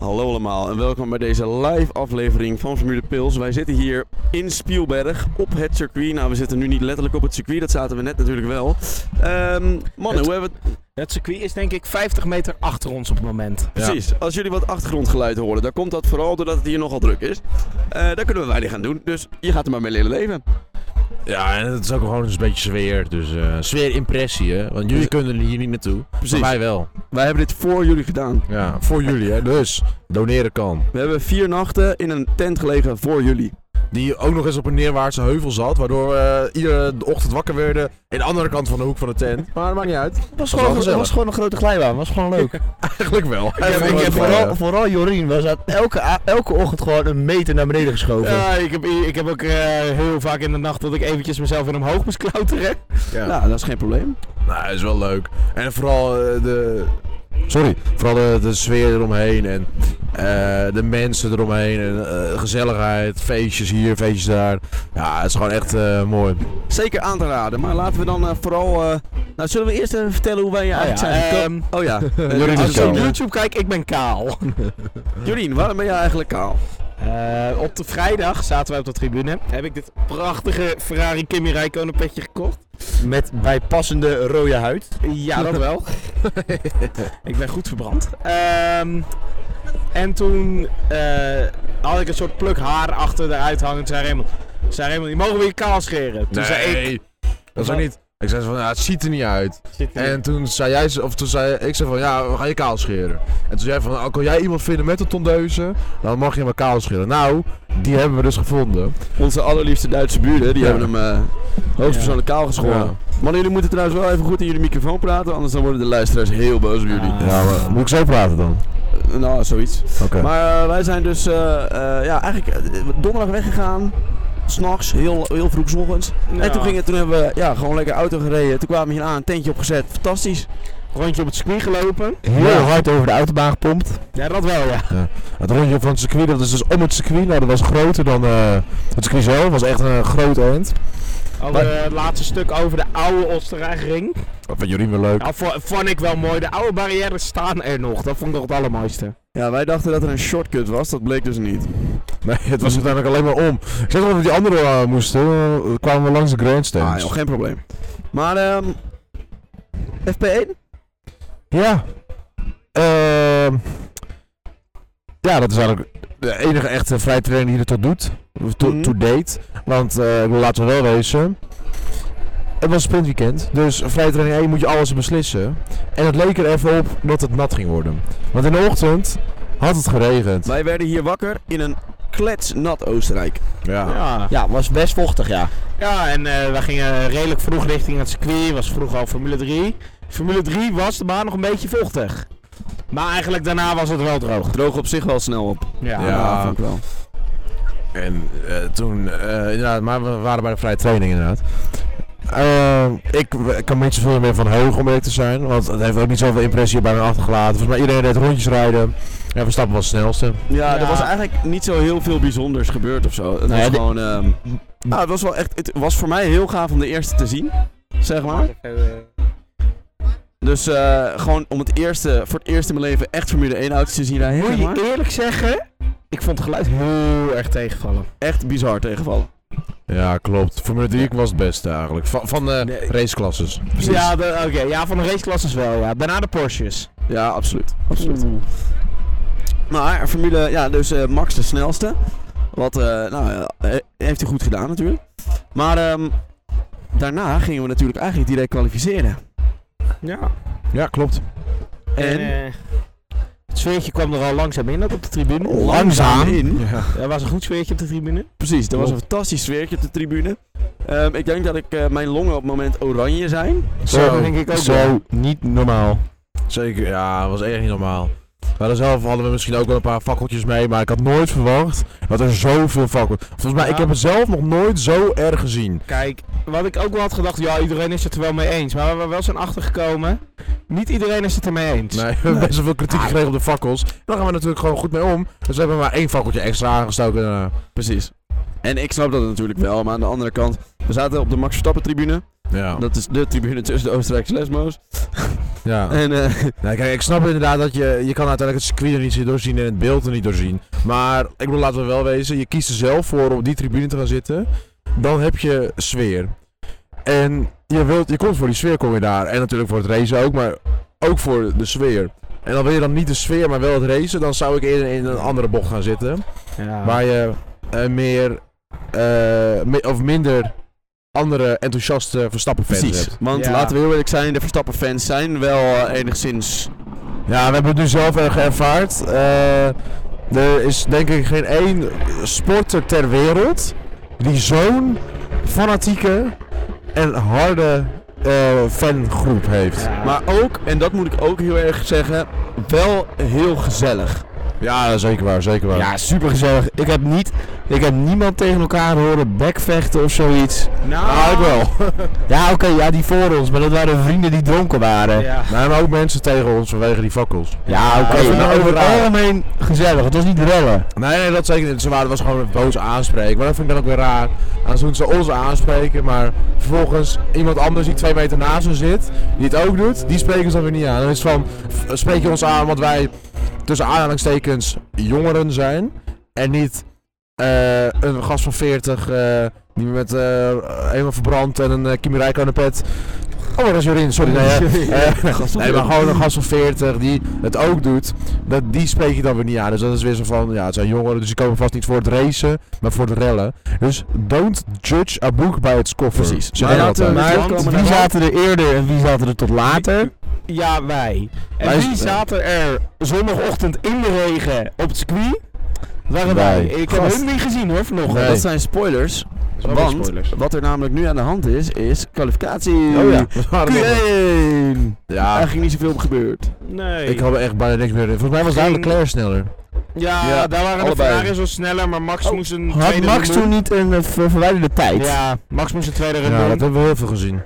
Hallo allemaal en welkom bij deze live aflevering van Formule Pils. Wij zitten hier in Spielberg op het circuit. Nou, we zitten nu niet letterlijk op het circuit, dat zaten we net natuurlijk wel. Ehm mannen, Het- hoe hebben we het? Het circuit is denk ik 50 meter achter ons op het moment. Precies, als jullie wat achtergrondgeluid horen, dan komt dat vooral doordat het hier nogal druk is. Eh daar kunnen we weinig aan doen, dus je gaat er maar mee leren leven. Ja, en het is ook gewoon eens een beetje sfeer. Dus eh, sfeerimpressie, hè. Want jullie kunnen hier niet naartoe. Precies. Maar wij wel. Wij hebben dit voor jullie gedaan. Ja, voor jullie, hè. Dus, doneren kan. We hebben vier nachten in een tent gelegen voor jullie. Die ook nog eens op een neerwaartse heuvel zat. Waardoor we iedere ochtend wakker werden. In de andere kant van de hoek van de tent. Maar dat maakt niet uit. Het was, gewoon- gewoon, was een grote glijbaan, was gewoon leuk. Eigenlijk wel. Ik heb vooral, vooral Jorien was dat elke, a- elke ochtend gewoon een meter naar beneden geschoven. Ja, ik heb, ik heb ook eh, heel vaak in de nacht dat ik eventjes mezelf in omhoog moest klauteren. Ja. Nou, dat is geen probleem. Nou, is wel leuk. En vooral eh, de... Sorry, vooral de, de sfeer eromheen en eh, de mensen eromheen en eh, gezelligheid, feestjes hier, feestjes daar. Ja, het is gewoon echt eh, mooi. Zeker aan te raden, maar laten we dan eh, vooral... eh, Nou, zullen we eerst even vertellen hoe wij eh, eigenlijk zijn? Kom- Ehm, Oh ja, Jorien als is je op kaal. YouTube kijkt, ik ben kaal. Jorien, waarom ben jij eigenlijk kaal? Eh, op de vrijdag zaten wij op de tribune. Heb ik dit prachtige Ferrari Kimi Räikkönen petje gekocht. Met bijpassende rode huid. Ja, dat wel. ik ben goed verbrand. Ehm, en toen eh, had ik een soort pluk haar achter de uithangen. Toen zei Raymond, zei Raymond, die mogen we je kaal scheren. Toen zei ik, dat is ook niet. Ik zei zo van, ja, het ziet er niet uit. Zit er- En toen zei jij, ze- of toen zei ik zei van, ja, we gaan je kaal scheren. En toen zei jij van, oh, kan jij iemand vinden met een tondeuze? Dan mag je hem kaal scheren. Nou, die hebben we dus gevonden. Onze allerliefste Duitse buren, die Ja. hebben hem eh, hoogstpersoonlijk kaal geschoren. Ja. Mannen, jullie moeten trouwens wel even goed in jullie microfoon praten, anders dan worden de luisteraars heel boos op jullie. Ah. Ja, maar moet ik zo praten dan? Eh, nou, zoiets. Oké. Maar eh, wij zijn dus eh, eh, ja, eigenlijk eh, donderdag weggegaan. S'nachts, heel, heel vroeg 's ochtends. En Nou, toen, gingen, toen hebben we ja, gewoon lekker auto gereden. Toen kwamen we hier aan, een tentje opgezet. Fantastisch. rondje op het circuit gelopen. Heel Ja. hard over de autobaan gepompt. Ja, dat wel, ja. Het rondje van het circuit, dat is dus om het circuit. Nou, dat was groter dan eh, het circuit zelf. Het was echt een eh, groot end. Over het laatste stuk over de oude Oostenrijkring. Dat vind jullie wel leuk. Nou, vo- vond ik wel mooi. De oude barrières staan er nog. Dat vond ik nog het allermooiste. Ja, wij dachten dat er een shortcut was, dat bleek dus niet. Nee, het was uiteindelijk alleen maar om. Ik zei toch dat we die andere eh, moesten. eh, kwamen we langs de grandstands. Ah, joh, geen probleem. Maar ehm FP1? Ja. Ehm, ja, dat is eigenlijk de enige echte vrije trainer die er tot doet. Of To, Mhm. to date. Want eh, ik wil laten we wel wezen. Het was sprintweekend, dus vrije training 1 moet je alles beslissen. En het leek er even op dat het nat ging worden. Want in de ochtend had het geregend. Wij werden hier wakker in een kletsnat Oostenrijk. Ja. Ja, Ja, was best vochtig, ja. ja en eh wij gingen redelijk vroeg richting het circuit. Was vroeg al Formule 3. Formule 3 was de baan nog een beetje vochtig. Maar eigenlijk daarna was het wel droog. Droog op zich wel snel op. Ja. Ja. vond ik wel. En eh, toen, eh, inderdaad, maar we waren bij de vrije training inderdaad. Ehm, ik, w- ik kan me niet zoveel meer van heugen om eerlijk te zijn. Want het heeft ook niet zoveel impressie bij me achtergelaten. Volgens mij iedereen deed rondjes rijden. En Verstappen was het snelste. Ja, er Ja. was eigenlijk niet zo heel veel bijzonders gebeurd of zo. Het Nou ja, was de- gewoon. ehm, nou, het was wel echt. Het was voor mij heel gaaf om de eerste te zien. Zeg maar. Dus eh, gewoon om het eerste, voor het eerst in mijn leven echt Formule 1 auto's te zien rijden. Moet Zeg maar. je eerlijk zeggen, ik vond het geluid heel erg tegenvallen. Echt bizar tegenvallen. Ja, klopt. Formule 3 was het beste eigenlijk. Van, van de Nee. raceklasses. Ja, de- oké. Ja, van de raceklasses wel, ja. Daarna de Porsches. Ja, absoluut. absoluut. Maar Formule, ja, dus eh, Max de snelste. Wat, eh, nou, eh, eh, heeft hij goed gedaan natuurlijk. Maar ehm, daarna gingen we natuurlijk eigenlijk direct kwalificeren. Ja. Ja, klopt. En, eh, het zweertje kwam er al langzaam in, ook op de tribune. langzaam in. Ja. Er was een goed zweertje op de tribune. Precies, er was een Klopt. fantastisch sfeertje op de tribune. Ehm, ik denk dat ik, eh, mijn longen op het moment oranje zijn. Zo, dat denk ik ook wel. zo. Niet normaal. Zeker, ja, dat was echt niet normaal. We hadden zelf hadden we misschien ook wel een paar fakkeltjes mee, maar ik had nooit verwacht dat er zoveel fakkeltjes... Volgens mij, ik Ja. heb het zelf nog nooit zo erg gezien. Kijk, wat ik ook wel had gedacht, ja, iedereen is het er wel mee eens. Maar waar we wel zijn achtergekomen, niet iedereen is het er mee eens. Nee, we hebben best wel veel Ah. kritiek gekregen op de fakkels. Daar gaan we natuurlijk gewoon goed mee om. Dus we hebben maar één fakkeltje extra aangestoken. eh, daarna. Precies. En ik snap dat natuurlijk wel, maar aan de andere kant, we zaten op de Max Verstappen tribune. ja. Dat is de tribune tussen de Oostenrijkse lesmo's. Ja. En eh, Nou, kijk, ik snap inderdaad dat je, je kan uiteindelijk het circuit er niet doorzien en het beeld er niet doorzien. Maar ik bedoel, laten we wel wezen, je kiest er zelf voor om op die tribune te gaan zitten. Dan heb je sfeer. En je, wilt, je komt voor die sfeer, kom je daar. En natuurlijk voor het racen ook, maar ook voor de sfeer. En dan wil je dan niet de sfeer, maar wel het racen. Dan zou ik eerder in een andere bocht gaan zitten. Ja. Waar je eh, meer eh, mi- of minder andere enthousiaste verstappen fans precies. hebt. Want Ja. laten we heel eerlijk zijn, de Verstappen-fans zijn wel eh, enigszins... Ja, we hebben het nu zelf erg ervaard. Eh, er is denk ik geen één sporter ter wereld die zo'n fanatieke en harde eh, fangroep heeft. Ja. Maar ook, en dat moet ik ook heel erg zeggen, wel heel gezellig. Ja, zeker waar, zeker waar. Ja, supergezellig. Ik heb niet... Ik heb niemand tegen elkaar horen bekvechten of zoiets. nou, Ah, ik wel. Ja, oké, ja, die voor ons. Maar dat waren vrienden die dronken waren. Ja, Ja. Nee, maar ook mensen tegen ons vanwege die fakkels. Ah, oké. Als we maar nou over het overal- algemeen gezellig. Het was niet rellen. Nee, nee, dat zeker niet. Ze waren was gewoon een boos aanspreken. Maar dat vind ik dan ook weer raar. Aan doen ze ons aanspreken, maar vervolgens iemand anders die twee meter naast ons zit, die het ook doet, die spreken ze dan weer niet aan. Dan is het van, f- spreek je ons aan, want wij tussen aanhalingstekens jongeren zijn. En niet eh, een gast van 40 eh, die met eh helemaal verbrand en een uh, Kimi Räikkönen pet. Oh, daar is Jorin, sorry. Nee, hè. Eh, nee, maar gewoon een gast van 40 die het ook doet, dat, die spreek je dan weer niet aan. Dus dat is weer zo van, ja, het zijn jongeren, dus die komen vast niet voor het racen, maar voor het rellen. Dus don't judge a book by its cover. Precies. Zeg Maar ik laten we- altijd. Maar Maar komen wie er wel- zaten er eerder en wie zaten er tot later? ja, wij. En Wij- wie zaten er Zondagochtend in de regen op het circuit. Dat waren wij. Wij. Ik heb Gast. hem niet gezien hoor vanochtend. Nee. Dat zijn spoilers, wel want weer spoilers. wat er namelijk nu aan de hand is, is kwalificatie. Oh ja, Ah. we waren er nog. Q1! ja, Eigenlijk niet zoveel gebeurd. Nee. ik had er echt bijna niks meer in. Volgens mij was daar Ging- Leclerc sneller. ja, Ja, daar waren allebei. de Ferraris wel sneller, maar Max Oh, moest een Had tweede Max run doen. toen niet een eh, ver- verwijderde tijd? Ja, Max moest een tweede run Ja, doen. dat hebben we heel veel gezien.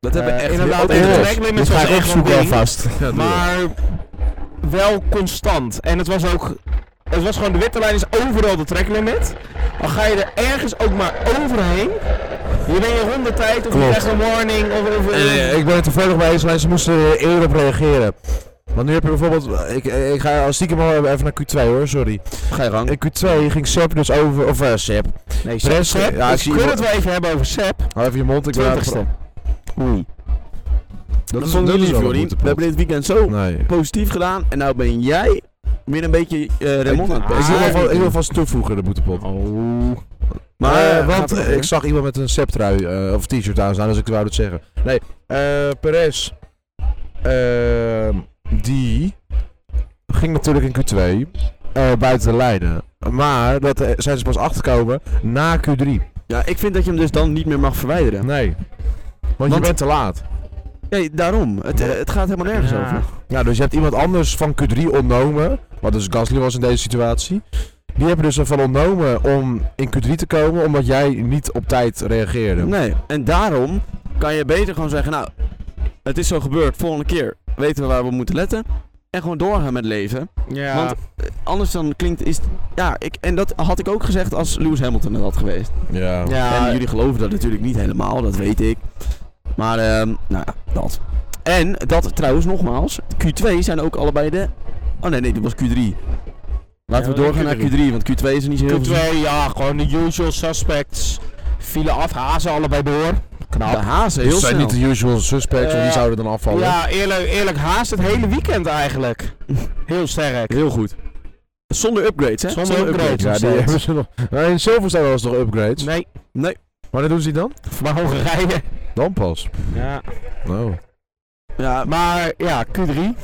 Dat hebben we Eh, echt inderdaad, heel- in de heel- track limits Dit ga was ik echt zo'n opzoeken ding. alvast. Maar wel constant. En het was ook. Het was gewoon de witte lijn is overal de tracklimit. Al ga je er ergens ook maar overheen. Je bent je rondetijd of je Klopt. krijgt een warning of, of Eh, eh, ik ben er toevallig mee eens, alleen ze moesten er eerder op reageren. Want nu heb je bijvoorbeeld, ik, ik ga als stiekem al even naar Q2 hoor, sorry. Ga je gang. In Q2 ging Sepp dus over, of eh Sepp. nee, Perez- Sepp, ja, ik zie wil je- het wel even hebben over Sepp. Hou even je mond, ik ben aan het Twintigste. Oei. Dat is- is jullie dat is wel lief, een Nou. Jordi. moeite We hebben dit weekend zo pra- Nee. positief gedaan en nou ben jij weer een beetje eh Raymond aan ik, het Oh. ik, wil pesten. wel- ik wil vast toevoegen de boetepot. Maar, Maar, eh, gaat het want eh, nog, ik hè? zag iemand met een septrui eh, of t-shirt aan staan, dus ik wou dat zeggen. Nee, eh Perez, ehm, die ging natuurlijk in Q2 eh, buiten de lijnen. Maar dat eh, zijn ze pas achterkomen na Q3. Ja, ik vind dat je hem dus dan niet meer mag verwijderen. Nee. Want, je Want- bent te laat. Nee, daarom. Het, eh, het gaat helemaal nergens Ja. over. Ja, dus je hebt iemand anders van Q3 ontnomen. Wat dus Gasly was in deze situatie. Die hebben dus ervan ontnomen om in Q3 te komen, omdat jij niet op tijd reageerde. Nee, en daarom kan je beter gewoon zeggen, nou, het is zo gebeurd, volgende keer weten we waar we op moeten letten. En gewoon doorgaan met leven. Ja. Want eh, anders dan klinkt, is, ja, ik, en dat had ik ook gezegd als Lewis Hamilton het had geweest. Ja. ja, En jullie geloven dat natuurlijk niet helemaal, dat weet ik. Maar, ehm, nou ja, dat. En dat trouwens nogmaals, Q2 zijn ook allebei de. Oh nee, nee, dit was Q3. Laten Ja, we doorgaan naar Q3. Q3, want Q2 is er niet zo heel veel. Q2, ja, gewoon de usual suspects. Vielen af, hazen allebei door. De hazen, heel Dus zijn snel. niet de usual suspects, want die Ja. zouden dan afvallen. Eh, Ja, eerlijk, eerlijk, haast het hele weekend eigenlijk. Heel sterk. Heel goed. Zonder upgrades, hè? Zonder Ja, upgrades. die Steeds. hebben ze nog. Nou, in Silverstone was nog upgrades. Nee, Nee, Wanneer doen ze die dan? maar Hongarije. Dan pas. Ja. Nou. ja, Maar ja, Q3.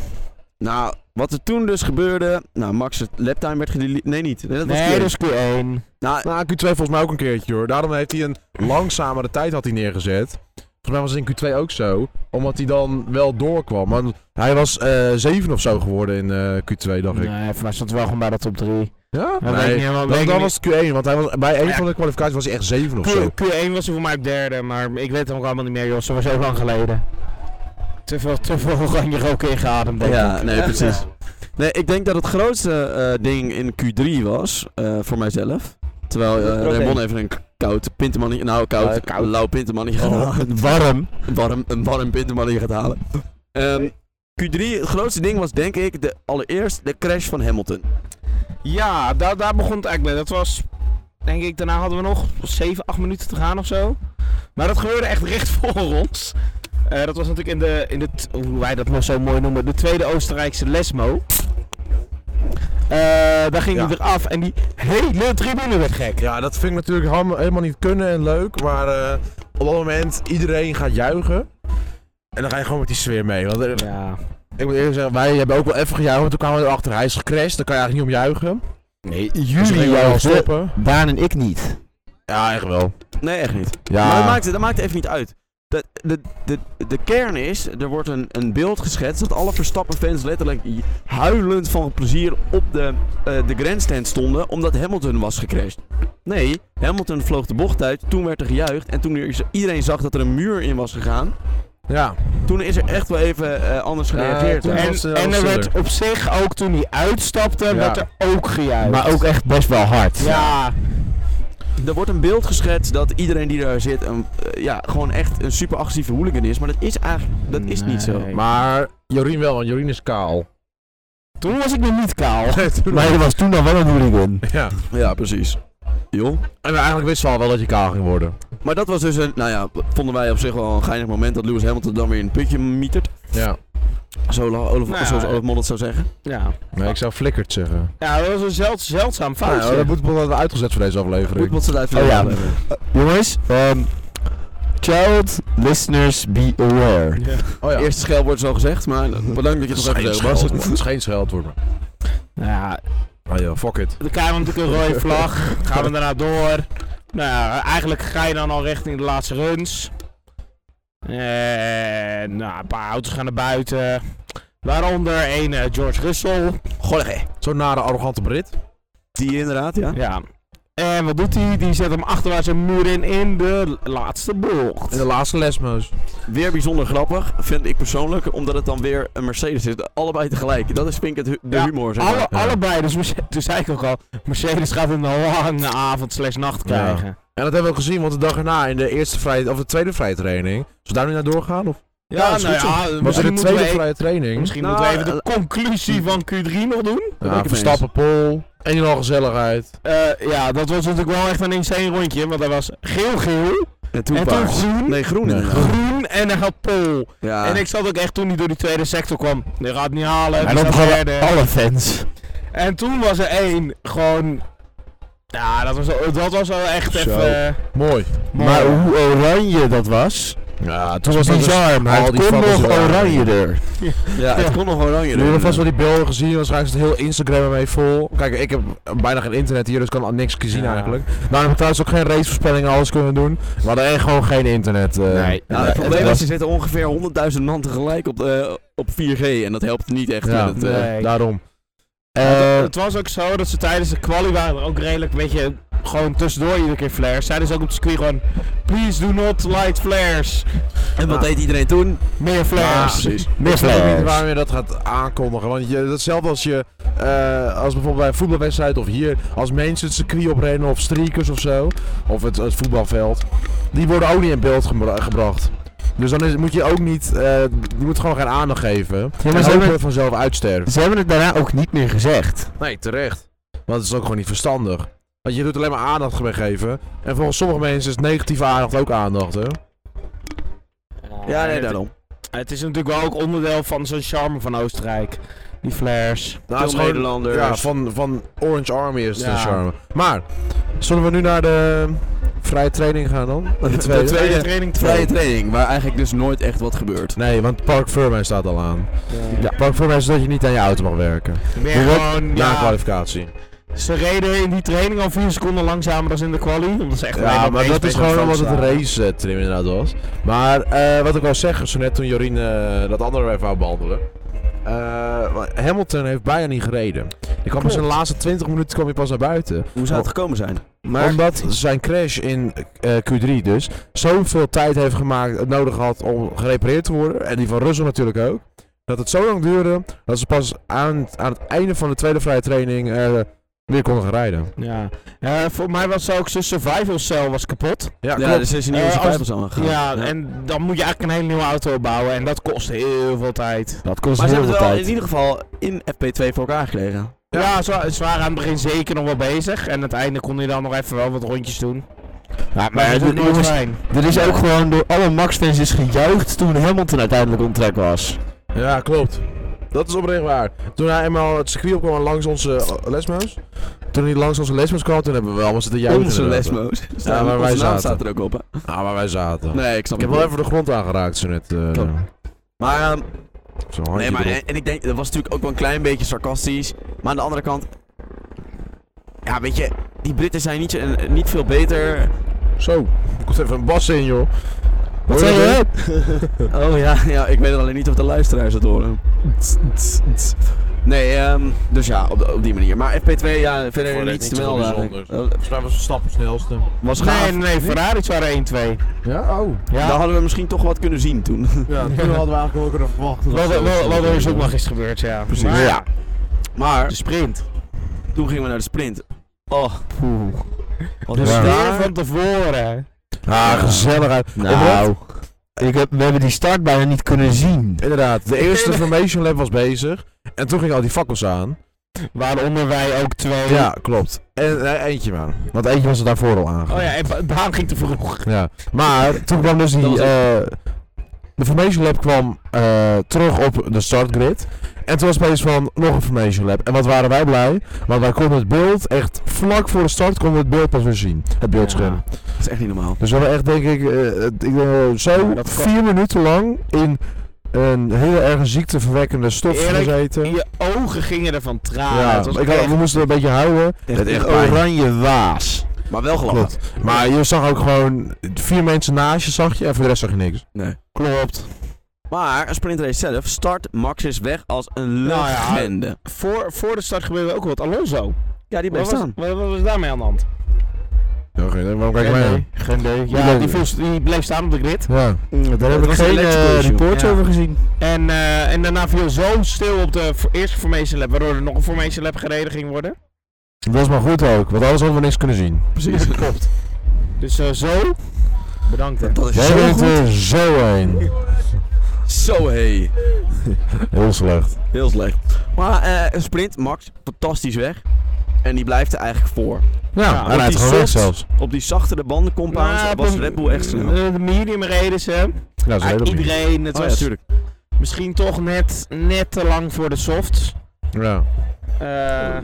nou, wat er toen dus gebeurde. Nou, Max' laptime werd gedelete. Nee, niet. Nee, dat was nee, Q1. dat is Q1. Nou, Nou, Q2 volgens mij ook een keertje hoor. Daarom heeft hij een langzamere tijd had hij neergezet. Volgens mij was het in Q2 ook zo. Omdat hij dan wel doorkwam. Maar hij was eh 7 of zo geworden in eh, Q2, dacht ik. Nee, voor mij stond wel gewoon bij dat top 3. Ja? Dat weet ik niet helemaal. weet Dan, ik dan niet. was het Q1, want hij was, bij een van de kwalificaties was hij echt 7 of zo. Q, Q1 was hij voor mij op derde, maar ik weet het ook allemaal niet meer, joh. Zo was heel lang geleden. Te veel, te veel oranje rook ingeademd, denk ja, ik. nee, precies. Nee, ik denk dat het grootste eh, ding in Q3 was, eh, voor mijzelf. Terwijl eh Oké. Raymond even een k- koud pintemannetje, nou koud, Eh, koud. Oh. lauw pintemannetje gaat halen. Warm. Een warm, een warm pintemannetje gaat halen. Ehm, Q3, het grootste ding was denk ik de, allereerst de crash van Hamilton. Ja, daar, daar begon het eigenlijk mee. Dat was, denk ik, daarna hadden we nog 7, 8 minuten te gaan of zo. Maar dat gebeurde echt recht voor ons. Eh, dat was natuurlijk in de, in de, t- hoe wij dat nog zo mooi noemen, de tweede Oostenrijkse Lesmo. Eh, daar ging Ja. hij eraf en die hele tribune werd gek. Ja, dat vind ik natuurlijk ham- helemaal niet kunnen en leuk. Maar eh, op dat moment, iedereen gaat juichen. En dan ga je gewoon met die sfeer mee. Want, eh, Ja. Ik moet eerlijk zeggen, wij hebben ook wel even gejuicht. Maar toen kwamen we erachter, hij is gecrashed. Daar kan je eigenlijk niet om juichen. Nee, Dus dan Jullie gingen we wel juichen, stoppen. Daan en ik niet. Ja, echt wel. Nee, echt niet. Maar dat Ja, maakt, dat maakt even niet uit. De, de, de, de kern is, er wordt een, een beeld geschetst dat alle Verstappen-fans letterlijk huilend van plezier op de, eh de grandstand stonden omdat Hamilton was gecrashed. Nee, Hamilton vloog de bocht uit, toen werd er gejuicht en toen er- iedereen zag dat er een muur in was gegaan, ja. toen is er echt wel even eh, anders Ja, gereageerd. toen- hè. was, eh, En, en was er werd stiller. op zich ook toen hij uitstapte, Ja. werd er ook gejuicht. Maar ook echt best wel hard. Ja, Er wordt een beeld geschetst dat iedereen die daar zit een, eh, ja, gewoon echt een super agressieve hooligan is, maar dat is eigenlijk dat is niet zo. Nee. Maar Jorien wel, want Jorien is kaal. Toen was ik nog niet kaal. Toen- Maar je was toen al wel een hooligan. ja. Ja, precies. Joh. En eigenlijk wisten we al wel dat je kaal ging worden. Maar dat was dus een, nou ja, vonden wij op zich wel een geinig moment dat Lewis Hamilton dan weer in het putje mietert. Ja. Zo, la- Olaf, Nou ja, zoals ja. Olaf Mollet zou zeggen. ja. Nee, ik zou flikkert zeggen. ja, dat was een zeld, zeldzaam Nou, foutje. dat moet worden uitgezet voor deze Goed, aflevering. wat ze daar even Oh ja. hebben. Jongens, ehm, child listeners be aware. Ja. Oh ja. Eerste scheldwoord is al gezegd, maar bedankt dat je het nog even zegt. Bas. Het is geen scheldwoord, maar. Nou ja, Ah ja, fuck it. Dan krijgen we natuurlijk een rode vlag. Gaan we daarna door. Nou ja, eigenlijk ga je dan al richting de laatste runs. En, nou, een paar auto's gaan naar buiten. Waaronder een eh, George Russell. Golle, Zo'n nare, arrogante Brit. Die inderdaad, ja. Ja. En wat doet hij? Die zet hem achterwaarts een muur in in de laatste bocht. In de laatste lesmoos. Weer bijzonder grappig, vind ik persoonlijk, omdat het dan weer een Mercedes is. Allebei tegelijk. Dat is vind ik het hu- de Ja, humor, zeg maar. Alle, Ja. Allebei, dus Merce- toen zei ik ook al, Mercedes gaat een lange avond slash nacht Ja. krijgen. En dat hebben we ook gezien, want de dag erna in de eerste vrij, of de tweede vrije training. Zullen we daar nu naar doorgaan? Of Ja, dat is nou goed zo. ja, was er misschien de moeten tweede we e- vrije training? Misschien Nou, moeten we even de eh, conclusie van Q3 nog doen. ben ik Ja, het mee Verstappen, Pol. En je al gezelligheid. Eh, ja, dat was natuurlijk wel echt een insane rondje, want dat was geel-geel En toen en toen paars. groen, Nee, groen Nee, inderdaad. groen en dan gaat Pol. Ah. Ja. En ik zat ook echt toen hij door die tweede sector kwam, die gaat het niet halen, En die dan staat begonnen derde. alle fans. En toen was er één, gewoon, ja, dat was, wel- dat was wel echt Zo. even... eh, Mooi. mooi. Maar hoe oranje dat was. Ja, toen was dat bizar, maar al het die kon fakkels nog waren. oranje er. ja, het kon nog oranje. Jullie hebben erin. vast wel die beelden gezien, waarschijnlijk is het heel Instagram ermee vol. Kijk, ik heb bijna geen internet hier, dus ik kan niks zien Ja. eigenlijk. Daarom heb ik trouwens ook geen racevoorspellingen en alles kunnen doen. We hadden echt gewoon geen internet. eh. Nee. Nou, het Eh, probleem dat- is, er zitten ongeveer 100.000 man tegelijk op, eh, op 4G en dat helpt niet echt Ja. met het... eh, Nee. Daarom. het, Eh, het was ook zo dat ze tijdens de kwalie waren er ook redelijk een beetje gewoon tussendoor iedere keer flares. Zeiden ze ook op de circuit gewoon, please do not light flares. En wat Ah. deed iedereen toen? Meer flares. precies. Meer Ik weet niet flares. waarom je dat gaat aankondigen. Want je, dat is hetzelfde als je, eh, als bijvoorbeeld bij een voetbalwedstrijd of hier, als mensen het circuit oprennen of streakers of zo, of het, het voetbalveld, die worden ook niet in beeld gebra- gebracht. Dus dan is, moet je ook niet, eh, je moet gewoon geen aandacht geven. maar en ze hopen hebben- dat vanzelf uitsterven. Ze hebben het daarna ook niet meer gezegd. Nee, terecht. Want het is ook gewoon niet verstandig. Want je doet alleen maar aandacht mee geven. En volgens sommige mensen is negatieve aandacht ook aandacht, hè? Ja, nee, daarom. Het is natuurlijk wel ook onderdeel van zo'n charme van Oostenrijk. Die flares. Veel Nou, het is gewoon- Nederlanders. Ja, van, van Orange Army is het Ja. een charme. Maar, zullen we nu naar de vrije training gaan dan? De tweede? tweede. training Vrije training, waar eigenlijk dus nooit echt wat gebeurt. Nee, want Park Vermeer staat al aan. Ja. Park Vermeer is dat je niet aan je auto mag werken. Meer Hoe gewoon, Na ja, kwalificatie. ze reden in die training al vier seconden langzamer dan in de quali. Omdat ze echt alleen Ja, op maar één dat is space gewoon aan omdat het focus een waren. race eh, trim inderdaad was. Maar eh, wat ik al zeg, zo net toen Jorien eh, dat andere even wou behandelen. Eh, maar Hamilton heeft bijna niet gereden. Die kwam pas in de laatste 20 minuten kwam hij pas naar buiten. Hoe zou het gekomen zijn? Maar Omdat zijn crash in eh, Q3 dus zoveel tijd heeft gemaakt, eh, nodig had om gerepareerd te worden. En die van Russell natuurlijk ook. Dat het zo lang duurde dat ze pas aan, aan het einde van de tweede vrije training eh, Weer kon nog rijden. Ja. Eh, voor mij was ook zijn survival cell was kapot. Ja, Ja, dus is een nieuwe Eh, als- survival zone gegaan. Ja, en dan moet je eigenlijk een hele nieuwe auto bouwen. En dat kost heel veel tijd. Dat kost Maar ze heel hebben het wel veel tijd. in ieder geval in FP2 voor elkaar gekregen. Ja, zwa- ze waren aan het begin zeker nog wel bezig. En aan het einde kon hij dan nog even wel wat rondjes doen. Ja, Maar maar dat het- is nooit jongens, fijn. Er is ook gewoon door alle Max-fans is gejuicht toen Hamilton uiteindelijk onttrek was. Ja, klopt. Dat is oprecht waar. Toen hij eenmaal het circuit opkwam langs onze eh, lesmeus. Toen hij langs onze lesmeus kwam, toen hebben we wel allemaal zitten juichen. Onze inderdaad. lesmo's. Ja, waar wij Onze naam zaten. staat er ook op, hè? Ja, waar wij zaten. Nee, ik snap Ik heb het wel niet. even de grond aangeraakt zo net. eh, Klopt. Maar, ehm, Zo'n handje nee, maar erop. en, en ik denk, dat was natuurlijk ook wel een klein beetje sarcastisch. Maar aan de andere kant... Ja, weet je, die Britten zijn niet, zo- en- eh, niet veel beter. Zo, er komt even een bas in, joh. Wat Hoor zei je? dat? Oh ja, ja, ik weet alleen niet of de luisteraars dat horen. Nee, ehm, dus ja, op, op die manier. Maar FP2, ja, verder Voor de- niets te niet zo melden. Eh, bijzonder. Volgens mij was de stap het snelste. Was gaaf. Nee, nee, nee, Ferraris waren 1-2. Ja, oh. Daar hadden we misschien toch wat kunnen zien toen. Ja, toen hadden we eigenlijk wel kunnen verwachten. Wat, wat, wat er dus ook nog is gebeurd, ja. Precies. Maar Ja. Maar De sprint. toen gingen we naar de sprint. Oh, wat De was Ja. het sfeer daar? van tevoren. Ah, gezelligheid. Nou, ik heb, we hebben die start bijna niet kunnen zien. Inderdaad, de eerste Formation Lab was bezig. En toen gingen al die fakkels aan. Waaronder wij ook twee. Ja, klopt. En eh, eentje maar. Want eentje was er daarvoor al aangegaan. Oh ja, en Ba- Baan ging te vroeg. Ja, maar toen kwam dus Dat die... was eh de Formation Lab kwam eh, terug op de startgrid. En toen was het opeens van nog een Formation Lab. En wat waren wij blij. Want wij konden het beeld echt vlak voor de start konden we het beeld pas weer zien. Het beeldscherm. Ja. Dat is echt niet normaal. Dus we hebben echt denk ik, eh, het- ik denk wel zo Dat kan- vier minuten lang in een heel erg ziekteverwekkende stof Eerlijk, gezeten. Je ogen gingen ervan tranen. Ja, Het was ik had- echt- we moesten een beetje huilen. Echt echt pijn. Oranje waas. Maar wel gelachen. Klopt. Maar je zag ook gewoon vier mensen naast je zag je en voor de rest zag je niks. Nee. Klopt. Maar een sprintrace zelf start Max is weg als een Nou ja, legende. ja. voor, voor de start gebeurde ook wat. Alonso. die Wat bleef was, staan. wat, wat was daarmee aan de hand? Ja, oké, dan- waarom kijk je Geen mij aan? idee. Geen idee. Die Ja, bleef- die, viel- die bleef staan op de grid. Ja. Mm, Daar Dat heb ik was een geen electrical eh, issue. reports Ja. over gezien. En, eh, en daarna viel zo stil op de vo- eerste Formation Lab, waardoor er nog een Formation Lab gereden ging worden. Dat is maar goed ook, want anders hadden we niks kunnen zien. Precies. Klopt. Dus eh, zo. Bedankt hè. Dat is Jij zo bent goed. er zo een. Zo hey. Heel slecht. Heel slecht. Maar eh, een sprint, Max, fantastisch weg. En die blijft er eigenlijk voor. Nou, Ja, hij rijdt die gewoon weg soft- zelfs. Op die zachtere bandencompounds Maar was Nou, op- Red Bull echt snel. eh, de medium reden ze. Ja, dat is Ah, heel opnieuw. iedereen. Het Oh ja, was tuurlijk. misschien toch net, net te lang voor de softs. Ja. Eh,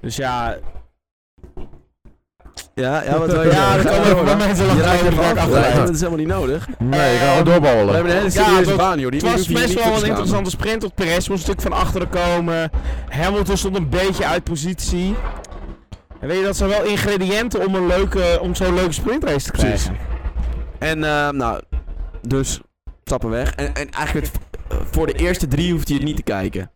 dus ja, Ja, ja, wat wil je Ja, zeggen? dat kan Ga ook door, bij hoor. mensen Je lachen rijdt over de ervan bak af. afrijden. Ja, Dat is helemaal niet nodig. Nee, ik ga Ehm, wel We doorballen. hebben een hele Ja, serieuze dat- baan, joh. Die Het was hoef je hier best niet wel voor een te schamen. interessante sprint op Perez. Moest een stuk van achteren komen. Hamilton stond een beetje uit positie. En weet je, dat zijn wel ingrediënten om, een leuke, om zo'n leuke sprintrace te Precies. krijgen. En ehm, nou, dus stappen weg. En, en eigenlijk het, eh, voor de eerste drie hoeft je niet te kijken.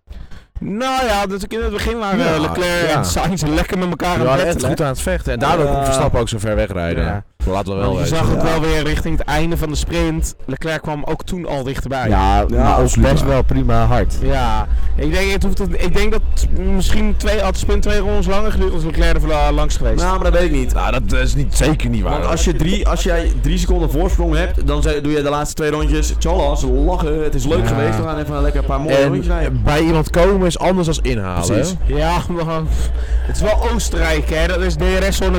Nou ja, dus in het begin waren Ja, eh, Leclerc ja. en Sainz lekker met elkaar We aan het waren echt battelen. goed aan het vechten. En daardoor kon Ja. Verstappen ook zo ver wegrijden. Ja. Laten we wel Want je weten. zag het Ja. wel weer richting het einde van de sprint. Leclerc kwam ook toen al dichterbij. Ja, maar ook absoluut best waar. wel prima hard. Ja. ik denk, het hoeft het- ik denk dat het misschien twee, had de sprint twee rondes langer geduurd als Leclerc er eh, langs geweest. Nou, maar dat weet ik niet. Nou, dat is niet, zeker niet waar. Want als, je drie, als jij drie seconden voorsprong hebt, dan ze- doe je de laatste twee rondjes. Tjallas, lachen, het is leuk Ja. geweest. We gaan even een lekker paar mooie rondjes rijden. En bij iemand komen is anders dan inhalen. Precies. hè? Ja, maar het is wel Oostenrijk, hè? Dat is DRS-zone, DRS-zone,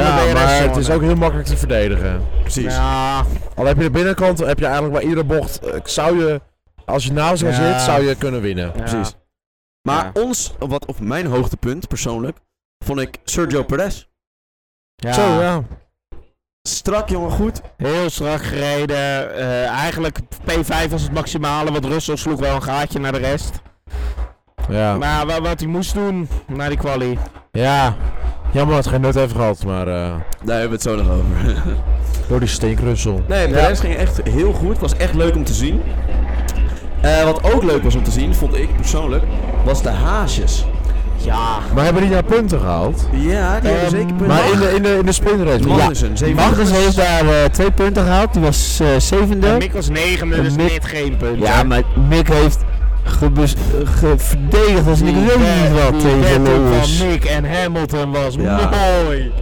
Ja, DRS-zone. maar het is ook heel makkelijk te verdedigen. Precies. Ja, Al heb je de binnenkant, heb je eigenlijk bij iedere bocht, eh, zou je, als je naast elkaar Ja. zit, zou je kunnen winnen. Precies. precies. Maar ons, wat, of mijn hoogtepunt persoonlijk, vond ik Sergio Perez. Ja. Zo, ja. Strak, jongen, goed. Heel strak gereden. eh, eigenlijk P5 was het maximale, want Russell sloeg wel een gaatje naar de rest. Ja. Maar wa- wat hij moest doen, naar die quali. ja. Jammer dat het geen nut heeft gehad, maar eh, Daar hebben we het zo nog over. door die stinkrussel. Nee, Perez ging echt heel goed. Was echt leuk om te zien. Eh, wat ook leuk was om te zien, vond ik persoonlijk, was de haasjes. Ja. Maar hebben die daar punten gehaald? Ja, die Ehm, hebben zeker punten. Ehm, Maar in de, in de, in de sprintrace. Magnussen, zeven Magnus heeft daar eh, twee punten gehaald. Die was eh, zevende. Mick was negende, dus Mick- net geen punt. Ja, maar Mick heeft gebes- eh, ge- verdedigd als ik Die weet niet ba- wat die tegen battle Lewis. van Mick en Hamilton was Ja. mooi.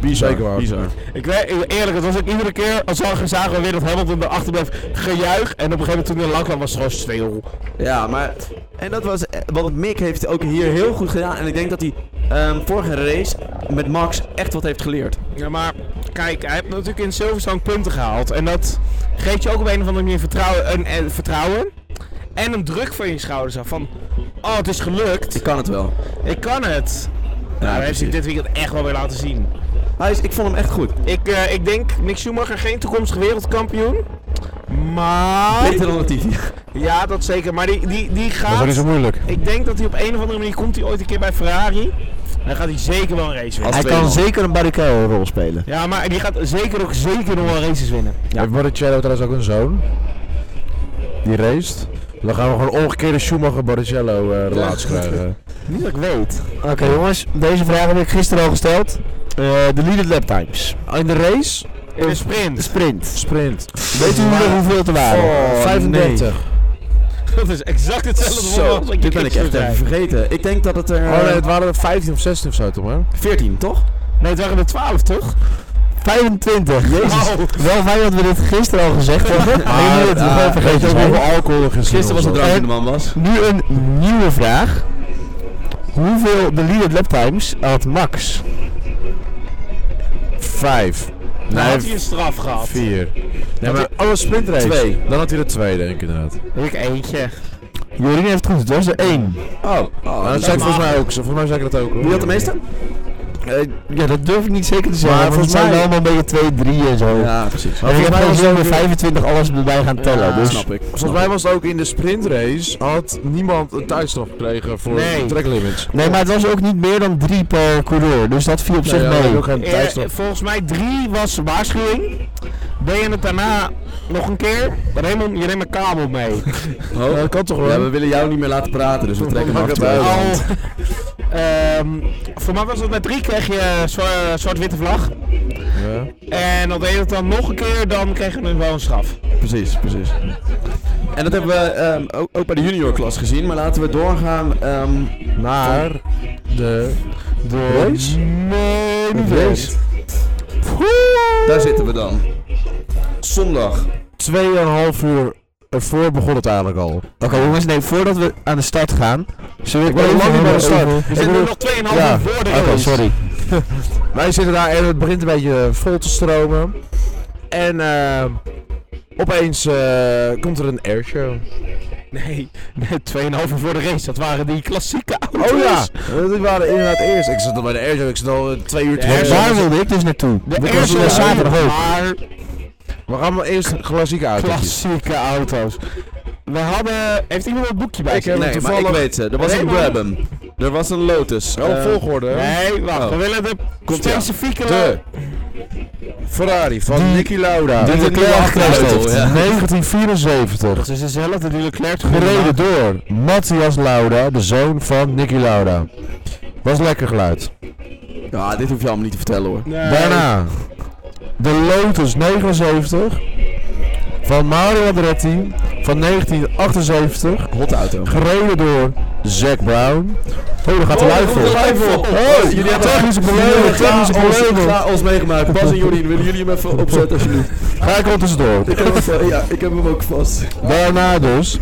Bizar, Zeker waar. bizar. Ik weet, ik- eerlijk, het was ook iedere keer als we zagen we weer dat Hamilton erachter bleef gejuich. En op een gegeven moment toen hij lang kwam was het gewoon stil. Ja, maar. En dat was. eh, Want Mick heeft ook hier heel goed gedaan. En ik denk dat hij ehm, vorige race met Max echt wat heeft geleerd. Ja, maar kijk, hij heeft natuurlijk in Silverstone punten gehaald. En dat geeft je ook op een of andere manier vertrouwen, een, en vertrouwen en een druk van je schouders af. Van, oh, het is gelukt. Ik kan het wel. Ik kan het. nou, dat heeft hij precies. dit weekend echt wel weer laten zien. Hij is, ik vond hem echt goed. Ik, eh, ik denk Mick Schumacher geen toekomstig wereldkampioen. Maar... Beter dan Latifi. Ja, dat zeker. Maar die, die, die Dat is ook gaat... niet zo moeilijk. Ik denk dat hij op een of andere manier komt hij ooit een keer bij Ferrari. Dan gaat hij zeker wel een race winnen. Hij tweede kan man. zeker een Barrichello-rol spelen. Ja, maar die gaat zeker ook zeker nog wel races winnen. Heeft Barrichello trouwens ook een zoon? Die raced? Dan gaan we gewoon omgekeerde Schumacher-Barrichello-relatie krijgen. Niet dat ik weet. Oké jongens, deze vraag heb ik gisteren al gesteld. Eh, de leaded lap times. In de race, In de sprint. de sprint. Sprint. Eh, Weet u nog hoeveel er waren? Oh, 35. Dat is exact hetzelfde Zo, als wat je dit ben ik gisteren echt even zei. vergeten. Ik denk dat het er. Oh nee, het waren er 15 of 16 of zo toch, man? 14, toch? Nee, het waren er 12, toch? 25. Jezus. Oh. Wel fijn dat we dit gisteren al gezegd hebben. Maar jullie het ah, gewoon Weet je vergeten ook zijn. hoeveel alcohol er gisteren Gisteren was het was? drank in de man was. Nu een nieuwe vraag. Hoeveel de leaded lap times had Max? Vijf. Dan Nee, had hij een straf gehad. vier. Nee, maar maar- alle oh, sprintrace. Twee. Dan had hij er twee, denk ik inderdaad. Nou, Ik eentje. Jorien heeft het goed, het was er één. Oh, oh Nou, dat zei ik volgens mij ook. zo- Volgens mij zei ik dat ook. hoor. Wie had de meeste? Ja, dat durf ik niet zeker te zeggen. Maar want het volgens zijn mij- wel allemaal een beetje 2, 3 en zo. Ja, precies. En ik volgens heb mij gewoon was zo het met ook- 25 alles erbij gaan tellen. Ja, dus Snap ik. Volgens mij was het ook in de sprintrace had niemand een tijdstraf gekregen voor Nee. de track limits. Nee, maar het was ook niet meer dan 3 per coureur. Dus dat viel op zich Nee, ja, mee. ook geen tijdstraf. Eh, volgens mij 3 was waarschuwing. Deed je het daarna nog een keer? Raymond, je neemt mijn kabel mee. Oh. Ja, dat kan toch wel? Ja, we willen jou niet meer laten praten, dus we trekken hem Maakt af. het twee. uit. Al, ehm, voor mij was het met 3 kreeg je zwa- zwart-witte vlag. Ja. En dan deed je het dan nog een keer, dan kreeg je een wel een straf. Precies, precies. En dat hebben we ehm, ook, ook bij de juniorklas gezien, maar laten we doorgaan ehm, Naar de de race. race. Daar zitten we dan. Zondag. Tweeënhalf uur ervoor begon het eigenlijk al. Oké jongens, nee, voordat we aan de start gaan. Zullen we Oh, Ik ben even lang niet bij de hebben start. over- We zitten nu nog 2,5 Ja, uur voor de Oké, race. sorry. Wij zitten daar en het begint een beetje eh, vol te stromen. En eh, opeens eh, komt er een airshow. Nee, nee 2,5 uur voor de race. Dat waren die klassieke auto's. Oh ja, die waren inderdaad eerst. Ik zat al bij de airshow, ik zat al eh, twee uur te Ja, En wachten. Daar wilde ik dus naartoe. De Dit was eerste eh, zaterdag ook. Maar We gaan maar eerst klassieke auto's. klassieke auto's. We hadden... Heeft iemand een boekje bij Ik zich? heb- Nee, maar ik toevallig- weet ze. Er was een Raymond. Brabham. Er was een Lotus. Wel eh, op volgorde. hè? Nee, wacht. Oh. We willen de Komt-ie aan. specifieke... De Ferrari van Nicky Lauda. Die de Leclerc kleur gekregen heeft. achterleutel, ja. 1974. Dat is dezelfde die Leclerc Gereden door Matthias Lauda, de zoon van Nicky Lauda. Was lekker geluid. Ja, dit hoef je allemaal niet te vertellen hoor. Daarna de Lotus 79 van Mario Andretti van 1978. Hot auto. Gereden door Zack Brown. Oh, daar gaat de live voor. Oh, jullie hebben technische problemen, technische problemen. ons meegemaakt. Bas en Jorien, willen jullie hem even opzetten alsjeblieft? Ga ik er tussendoor. Ik heb hem, ja, ik heb hem ook vast. Daarna dus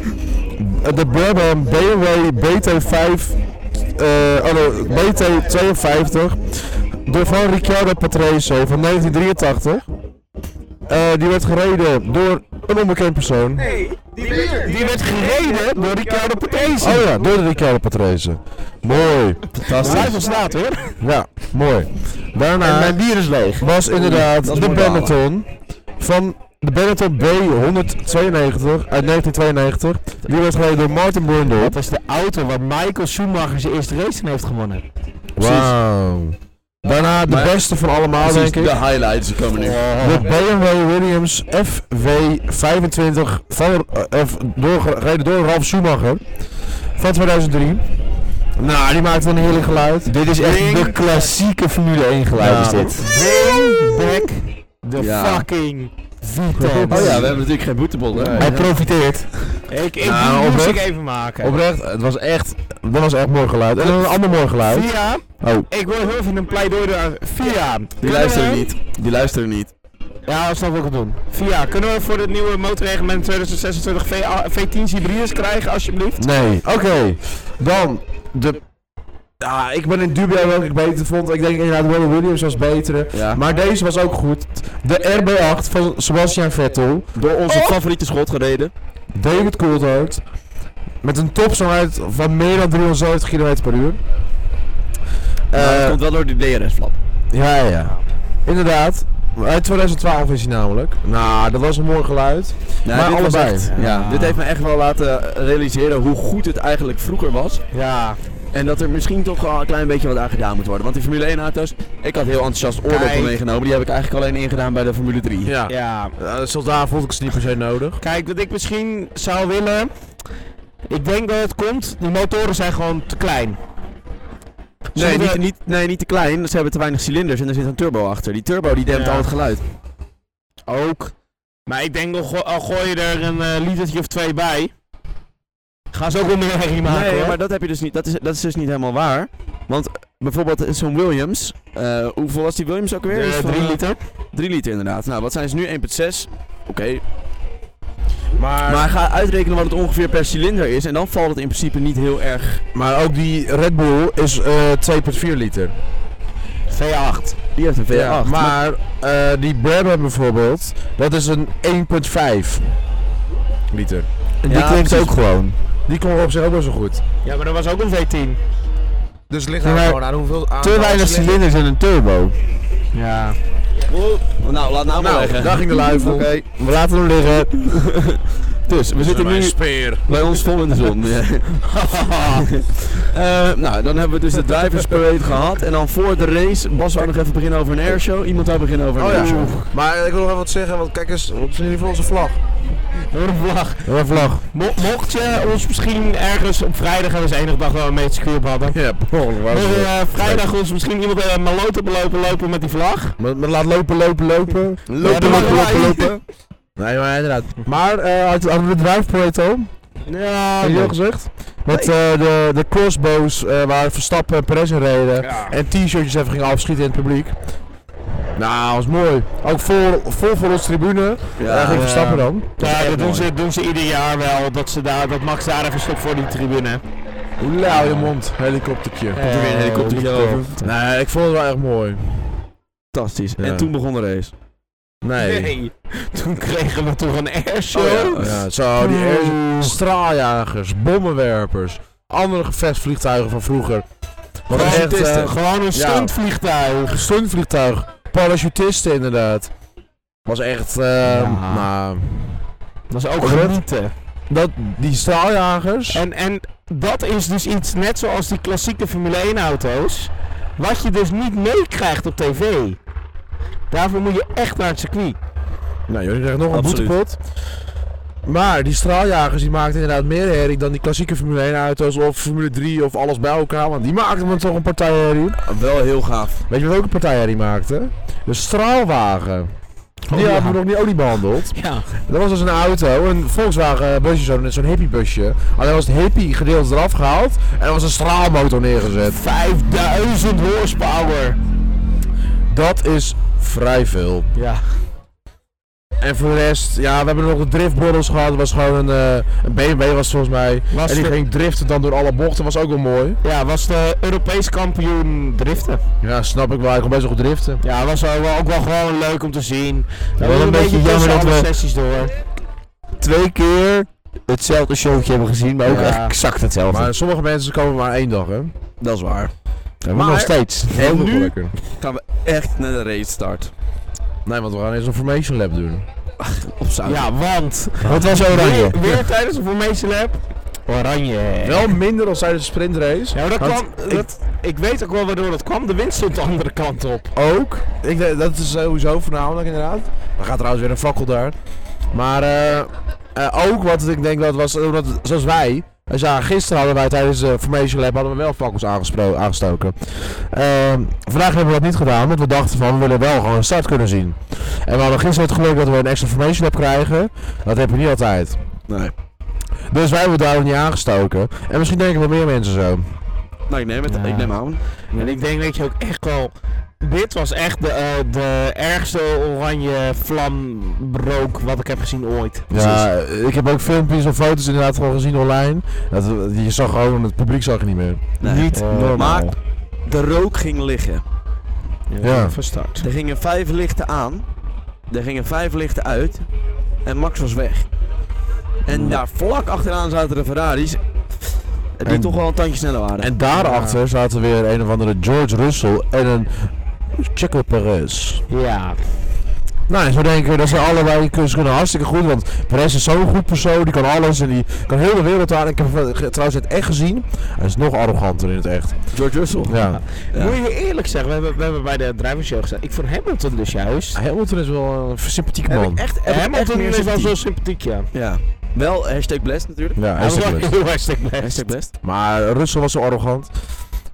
de Brabham BMW BT5 eh, oh nee, BT52 door van Ricciardo Patrese van 1983. Eh, die werd gereden door een onbekend persoon. Die werd gereden door Ricciardo Patrese. Oh ja, door de Ricciardo Patrese. Mooi. Fantastisch. van staat hoor. Ja, mooi. Daarna Mijn bier is leeg. was inderdaad Dat is de mooi balen. Benetton van de Benetton B192 uit 1992. Die werd gereden door Martin Brundle. Dat is de auto waar Michael Schumacher zijn eerste race in heeft gewonnen. Wauw. Daarna de Maar- beste van allemaal, Precies, denk ik. de highlights die komen nu. De Oh. BMW Williams FW25 van, eh, F- door, gereden door Ralf Schumacher van 2003. Nou, die maakt een heerlijk geluid. Nou. Dit is echt Ding. de klassieke Formule 1 geluid Ja. is dit. Bring back the Ja. fucking Vitens. Oh ja, we hebben natuurlijk geen boetebol. hè? Nee. Hij profiteert. Ik, ik Nou, die moest ik oprecht. even maken. Oprecht, het was echt, dat was echt mooi geluid. En dan een ander mooi geluid. Via, Oh, ik wil heel even een pleidooi daar. Via. Die luisteren niet. Die luisteren niet. ja, dat snap ik ook doen. Via, kunnen we voor het nieuwe motorreglement 2026 V- V10's hybrides krijgen, alsjeblieft? Nee. Oké, dan de... Ja, ik ben in dubio welke ik beter vond. Ik denk inderdaad Willie Williams was betere. Ja. Maar deze was ook goed. De RB8 van Sebastian Vettel. Door onze Oh. favoriete schot gereden. David Coulthard. Met een topsnelheid van meer dan 370 km per uur. Maar dat Eh, komt wel door die DRS-flap. ja, ja. Inderdaad. Uit 2012 is hij namelijk. Nou, dat was een mooi geluid. Ja, maar dit was allebei. echt- ja, dit heeft me echt wel laten realiseren hoe goed het eigenlijk vroeger was. Ja. En dat er misschien toch wel een klein beetje wat aan gedaan moet worden. Want die Formule 1 auto's, ik had heel enthousiast oordeel Kijk. meegenomen. Die heb ik eigenlijk alleen ingedaan bij de Formule 3. Ja. Ja, Eh, zelfs daar vond ik het niet per se nodig. kijk, wat ik misschien zou willen. Ik denk dat het komt, die motoren zijn gewoon te klein. Nee Zullen we- niet, niet, nee, niet te klein. Ze hebben te weinig cilinders en er zit een turbo achter. Die turbo die dempt Ja. al het geluid. Ook. Maar ik denk, al, go- al gooi je er een eh, litertje of twee bij. Gaan ze ook wel meer herrie maken nee, hoor. maar dat heb je dus niet. Dat is, dat is dus niet helemaal waar. Want bijvoorbeeld zo'n Williams. eh, hoeveel was die Williams ook weer? De Iets van, drie eh, liter. drie liter inderdaad. Nou, wat zijn ze nu? 1,6. Oké. Maar, maar, Maar ga uitrekenen wat het ongeveer per cilinder is. En dan valt het in principe niet heel erg. ook die Red Bull is eh, 2,4 liter. V8. Die heeft een V8. Ja, maar eh, die Brabham bijvoorbeeld, dat is een 1,5 liter. Die Ja, klinkt precies. ook gewoon. Die kon op zich ook wel zo goed. Ja, maar dat was ook een V10. Dus ligt er gewoon aan hoeveel aan Te weinig cilinders en een turbo. Ja. Nou, laat nou maar Nou, liggen. daar ging de luif Oké. om. We laten hem liggen. Dus, we zitten nu speer. bij ons vol in de zon. ja. Eh, nou, dan hebben we dus de Drivers Parade gehad. En dan voor de race, Bas wou nog even beginnen over een airshow. Iemand wou beginnen over een Oh ja. airshow. Maar ik wil nog even wat zeggen, want kijk eens, wat zijn jullie voor onze vlag? Door de vlag. Een vlag. Mo- mocht je ons misschien ergens op vrijdag, dat is de enige dag dat we een beetje circuit op hadden. Ja, behoorlijk. waar is Mocht je, het? eh, vrijdag ons misschien iemand eh maloten belopen lopen met die vlag. Maar, maar laat lopen, lopen, lopen. Lopen, lopen, lopen, lopen. Nee, maar inderdaad. Maar eh had- hadden we de drijfproject al? Ja, Heb je al gezegd? Met eh, de, de crossbows eh, waar Verstappen en Perez in reden. En t-shirtjes even gingen afschieten in het publiek. Nou, was mooi. Ook vol, vol voor ons tribune. Ja, Ja, ging eh, Verstappen dan. Ja, dat doen mooi. ze, doen ze ieder jaar wel. Dat, ze daar, dat Max daar even stopt voor die tribune. Eh, Hoe lauw je mond, helikoptertje. Komt er weer een helikoptertje over. Nee, ik vond het wel echt mooi. fantastisch. Ja. En toen begon de race. Nee. Toen kregen we toch een airshow. Oh Ja, zo, die air- straaljagers, bommenwerpers, andere gevechtsvliegtuigen van vroeger. Wat Gewoon, echt testen. eh gewoon een ja. stuntvliegtuig. stuntvliegtuig, parachutisten inderdaad. Was echt, eh, Ja. nou, Dat is ook Correct. genieten. dat, die straaljagers. En, en dat is dus iets net zoals die klassieke Formule 1 auto's. Wat je dus niet meekrijgt op tv. Daarvoor moet je echt naar het circuit. Nou, jullie krijgen nog een Absoluut. boetepot. Maar die straaljagers die maakten inderdaad meer herrie dan die klassieke Formule 1 auto's of Formule 3 of alles bij elkaar. Want die maakten dan toch een partij herrie. Wel heel gaaf. Weet je wat ook een partij herrie maakte? De straalwagen. Die Oh, ja. hadden we nog niet, ook niet behandeld. Ja. Dat was dus een auto, een Volkswagen busje, zo'n zo'n hippie busje. Alleen was het hippie gedeelte eraf gehaald en er was een straalmotor neergezet. 5000 horsepower. Dat is vrij veel. Ja. En voor de rest, ja, we hebben nog de driftborrels gehad. Dat was gewoon een, eh, een BMW was het volgens mij. Was en die de- ging driften dan door alle bochten, was ook wel mooi. Ja, was de Europees kampioen driften. Ja, snap ik wel. Ik kon best wel goed driften. Ja, was wel- wel- ook wel gewoon leuk om te zien. wel was een beetje tussen jammer dat alle we- sessies door. Twee keer hetzelfde showtje hebben gezien, maar ook Ja. echt exact hetzelfde. Maar sommige mensen komen maar één dag, hè. Dat is waar. Ja, maar- nog steeds. Heel nu? lekker. Gaan we echt naar de race start. Nee, want we gaan eerst een formation lab doen. Op zout. Ja, want Wat was oranje? weer, weer tijdens de Formation Lab. Oranje. Wel minder dan tijdens de sprintrace. Ja, maar dat Want kwam, ik- dat, ik weet ook wel waardoor dat kwam. De wind stond de andere kant op. ook. Ik, denk- dat is sowieso voornamelijk inderdaad. Er gaat trouwens weer een fakkel daar. Maar eh, eh, ook wat ik denk dat was, omdat, zoals wij, Dus ja, gisteren hadden wij tijdens de Formation Lab hadden we wel fakkels aangespro- aangestoken. Ehm, vandaag hebben we dat niet gedaan, want we dachten van we willen wel gewoon een start kunnen zien. En we hadden gisteren het geluk dat we een extra Formation Lab krijgen. Dat heb je niet altijd. Nee. Dus wij hebben het daar niet aangestoken. En misschien denken wel meer mensen zo. Nou, ik neem het. Ja. Ik neem aan. En ik denk dat je ook echt wel. Dit was echt de, eh, de ergste oranje vlamrook wat ik heb gezien ooit. Ja, ik heb ook filmpjes en foto's inderdaad gewoon gezien online. Dat, je zag gewoon, het publiek zag je niet meer. Nee. Niet Eh, normaal. maar- De rook ging liggen. Ja. Van start. Er gingen vijf lichten aan. Er gingen vijf lichten uit. En Max was weg. En daar vlak achteraan zaten de Ferraris. Die En- toch wel een tandje sneller waren. En daarachter zaten weer een of andere George Russell en een Checo Perez. Ja. Nou, en zo denk ik dat ze allebei kun- ze kunnen hartstikke goed, want Perez is zo'n goed persoon, die kan alles en die kan heel de wereld aan. Ik heb hem ge- trouwens in het echt gezien, hij is nog arroganter in het echt. George Russell. Ja. Ja. Moet je eerlijk zeggen, we hebben, we hebben bij de drivershow gezegd. Ik vond Hamilton dus juist. Hamilton is wel een sympathieke Heb man. ik echt, heb ik echt Hamilton meer is wel sympathie. zo sympathiek, ja. Ja. Wel, hashtag blessed natuurlijk. Ja, hij is Hij de was best. wel heel erg sterk best. Hashtag blessed. Maar Russell was zo arrogant.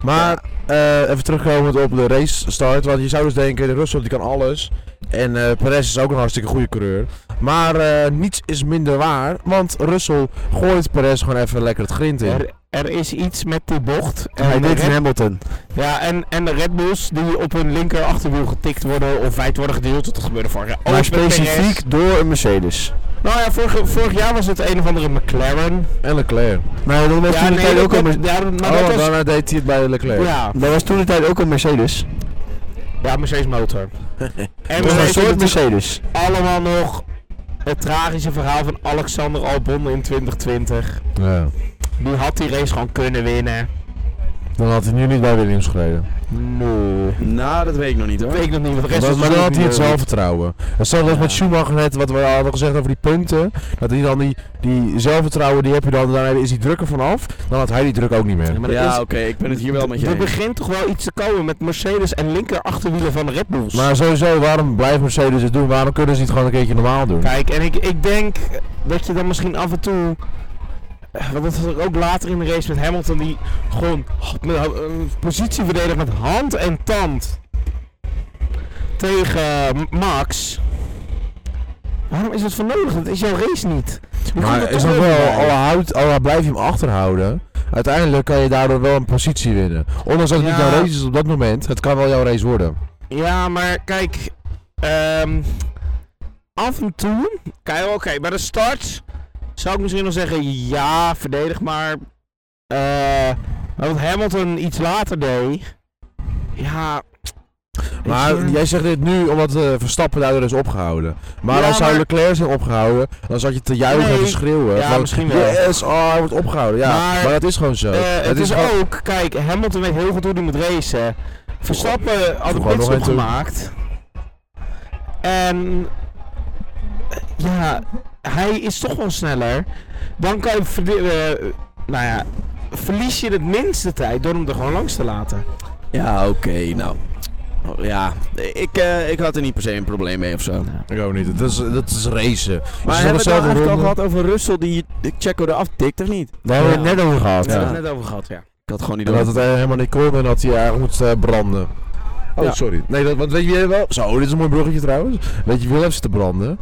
Maar eh, even terugkomend op de race start. Want je zou dus denken, Russell die kan alles. En eh, Perez is ook een hartstikke goede coureur. Maar eh, niets is minder waar. Want Russell gooit Perez gewoon even lekker het grind in. Er, er is iets met die bocht. En Hij de deed in Red- Hamilton. ja, en, en de Red Bulls die op hun linker achterwiel getikt worden of wijd worden gedeeld. Dat gebeurde vorig jaar. Maar ook met Perez. specifiek door een Mercedes. Nou ja, vorig, vorig jaar was het een of andere McLaren. En Leclerc. Maar dat was ja, toen de tijd dat- ook een Mer- dat- ja, maar oh, dat was... daarna deed hij het bij Leclerc. Ja, dat was toen de tijd ook een Mercedes. ja, Mercedes motor. en Dat was een Mercedes soort natuurlijk Mercedes. allemaal nog het tragische verhaal van Alexander Albon in 2020. Ja. Die had die race gewoon kunnen winnen. Dan had hij nu niet bij Williams gereden. Nee. Nou, dat weet ik nog niet hoor. Weet ik nog niet, want de rest Dat, was eh, maar dan had hij het natuurlijk- zelfvertrouwen. Hetzelfde als met Schumacher net, wat we hadden gezegd over die punten. Dat hij dan die, die zelfvertrouwen, die heb je dan, daarna is die druk er vanaf. Dan had hij die druk ook niet meer. Ja, maar er Ja, is- oké, ik ben het hier wel met je Er eens. begint toch wel iets te komen met Mercedes en linker achterwielen van de Red Bulls. Maar sowieso, waarom blijft Mercedes het doen? Waarom kunnen ze het gewoon een keertje normaal doen? Kijk, en ik, ik denk dat je dan misschien af en toe. eh, Want dat was er ook later in de race met Hamilton, die gewoon met, eh, positie verdedigt met hand en tand tegen eh, Max. Waarom is dat voor nodig? Dat is jouw race niet. Je kunt Maar er is toch dat weer wel, bij. al, houdt, al blijf je hem achterhouden, uiteindelijk kan je daardoor wel een positie winnen. Ondanks dat het niet Ja. jouw race is op dat moment, het kan wel jouw race worden. Ja, maar kijk. ehm, af en toe. Kijk, oké, bij de start zou ik misschien nog zeggen: ja, verdedig maar. Eh, maar wat Hamilton iets later deed. Ja. Maar weet je- jij zegt dit nu omdat eh, Verstappen daardoor is opgehouden. Maar Ja, als zou maar- Leclerc zijn opgehouden, dan zat je te juichen en Nee. te schreeuwen. Ja, van, misschien wel. Yes, oh, hij wordt opgehouden. Ja, maar, Maar- dat is gewoon zo. Eh, het, is, gewoon- ook, kijk, Hamilton weet heel goed hoe hij moet racen. Verstappen had Voeg een gewoon nog pitstop een toe. gemaakt. En eh, ja, hij is toch wel sneller. Dan kan je, verde- eh, nou ja, verlies je het minste tijd door hem er gewoon langs te laten. Ja, oké, nou. Ja, ik, eh, ik had er niet per se een probleem mee of zo. Ik ook niet. Dat is, dat is racen. Maar hebben we het nou eigenlijk al gehad over Russell die de Checo eraf tikt, of niet? Daar hebben we het net over gehad. Daar hebben Ja. we het net over gehad, ja. Ik had gewoon niet En door. dat het eh, helemaal niet kon en dat hij eigenlijk moest eh, branden. Oh, Ja. sorry. Nee, dat, want weet je wie wel? Zo, dit is een mooi bruggetje trouwens. Weet je wie wel heeft zitten branden?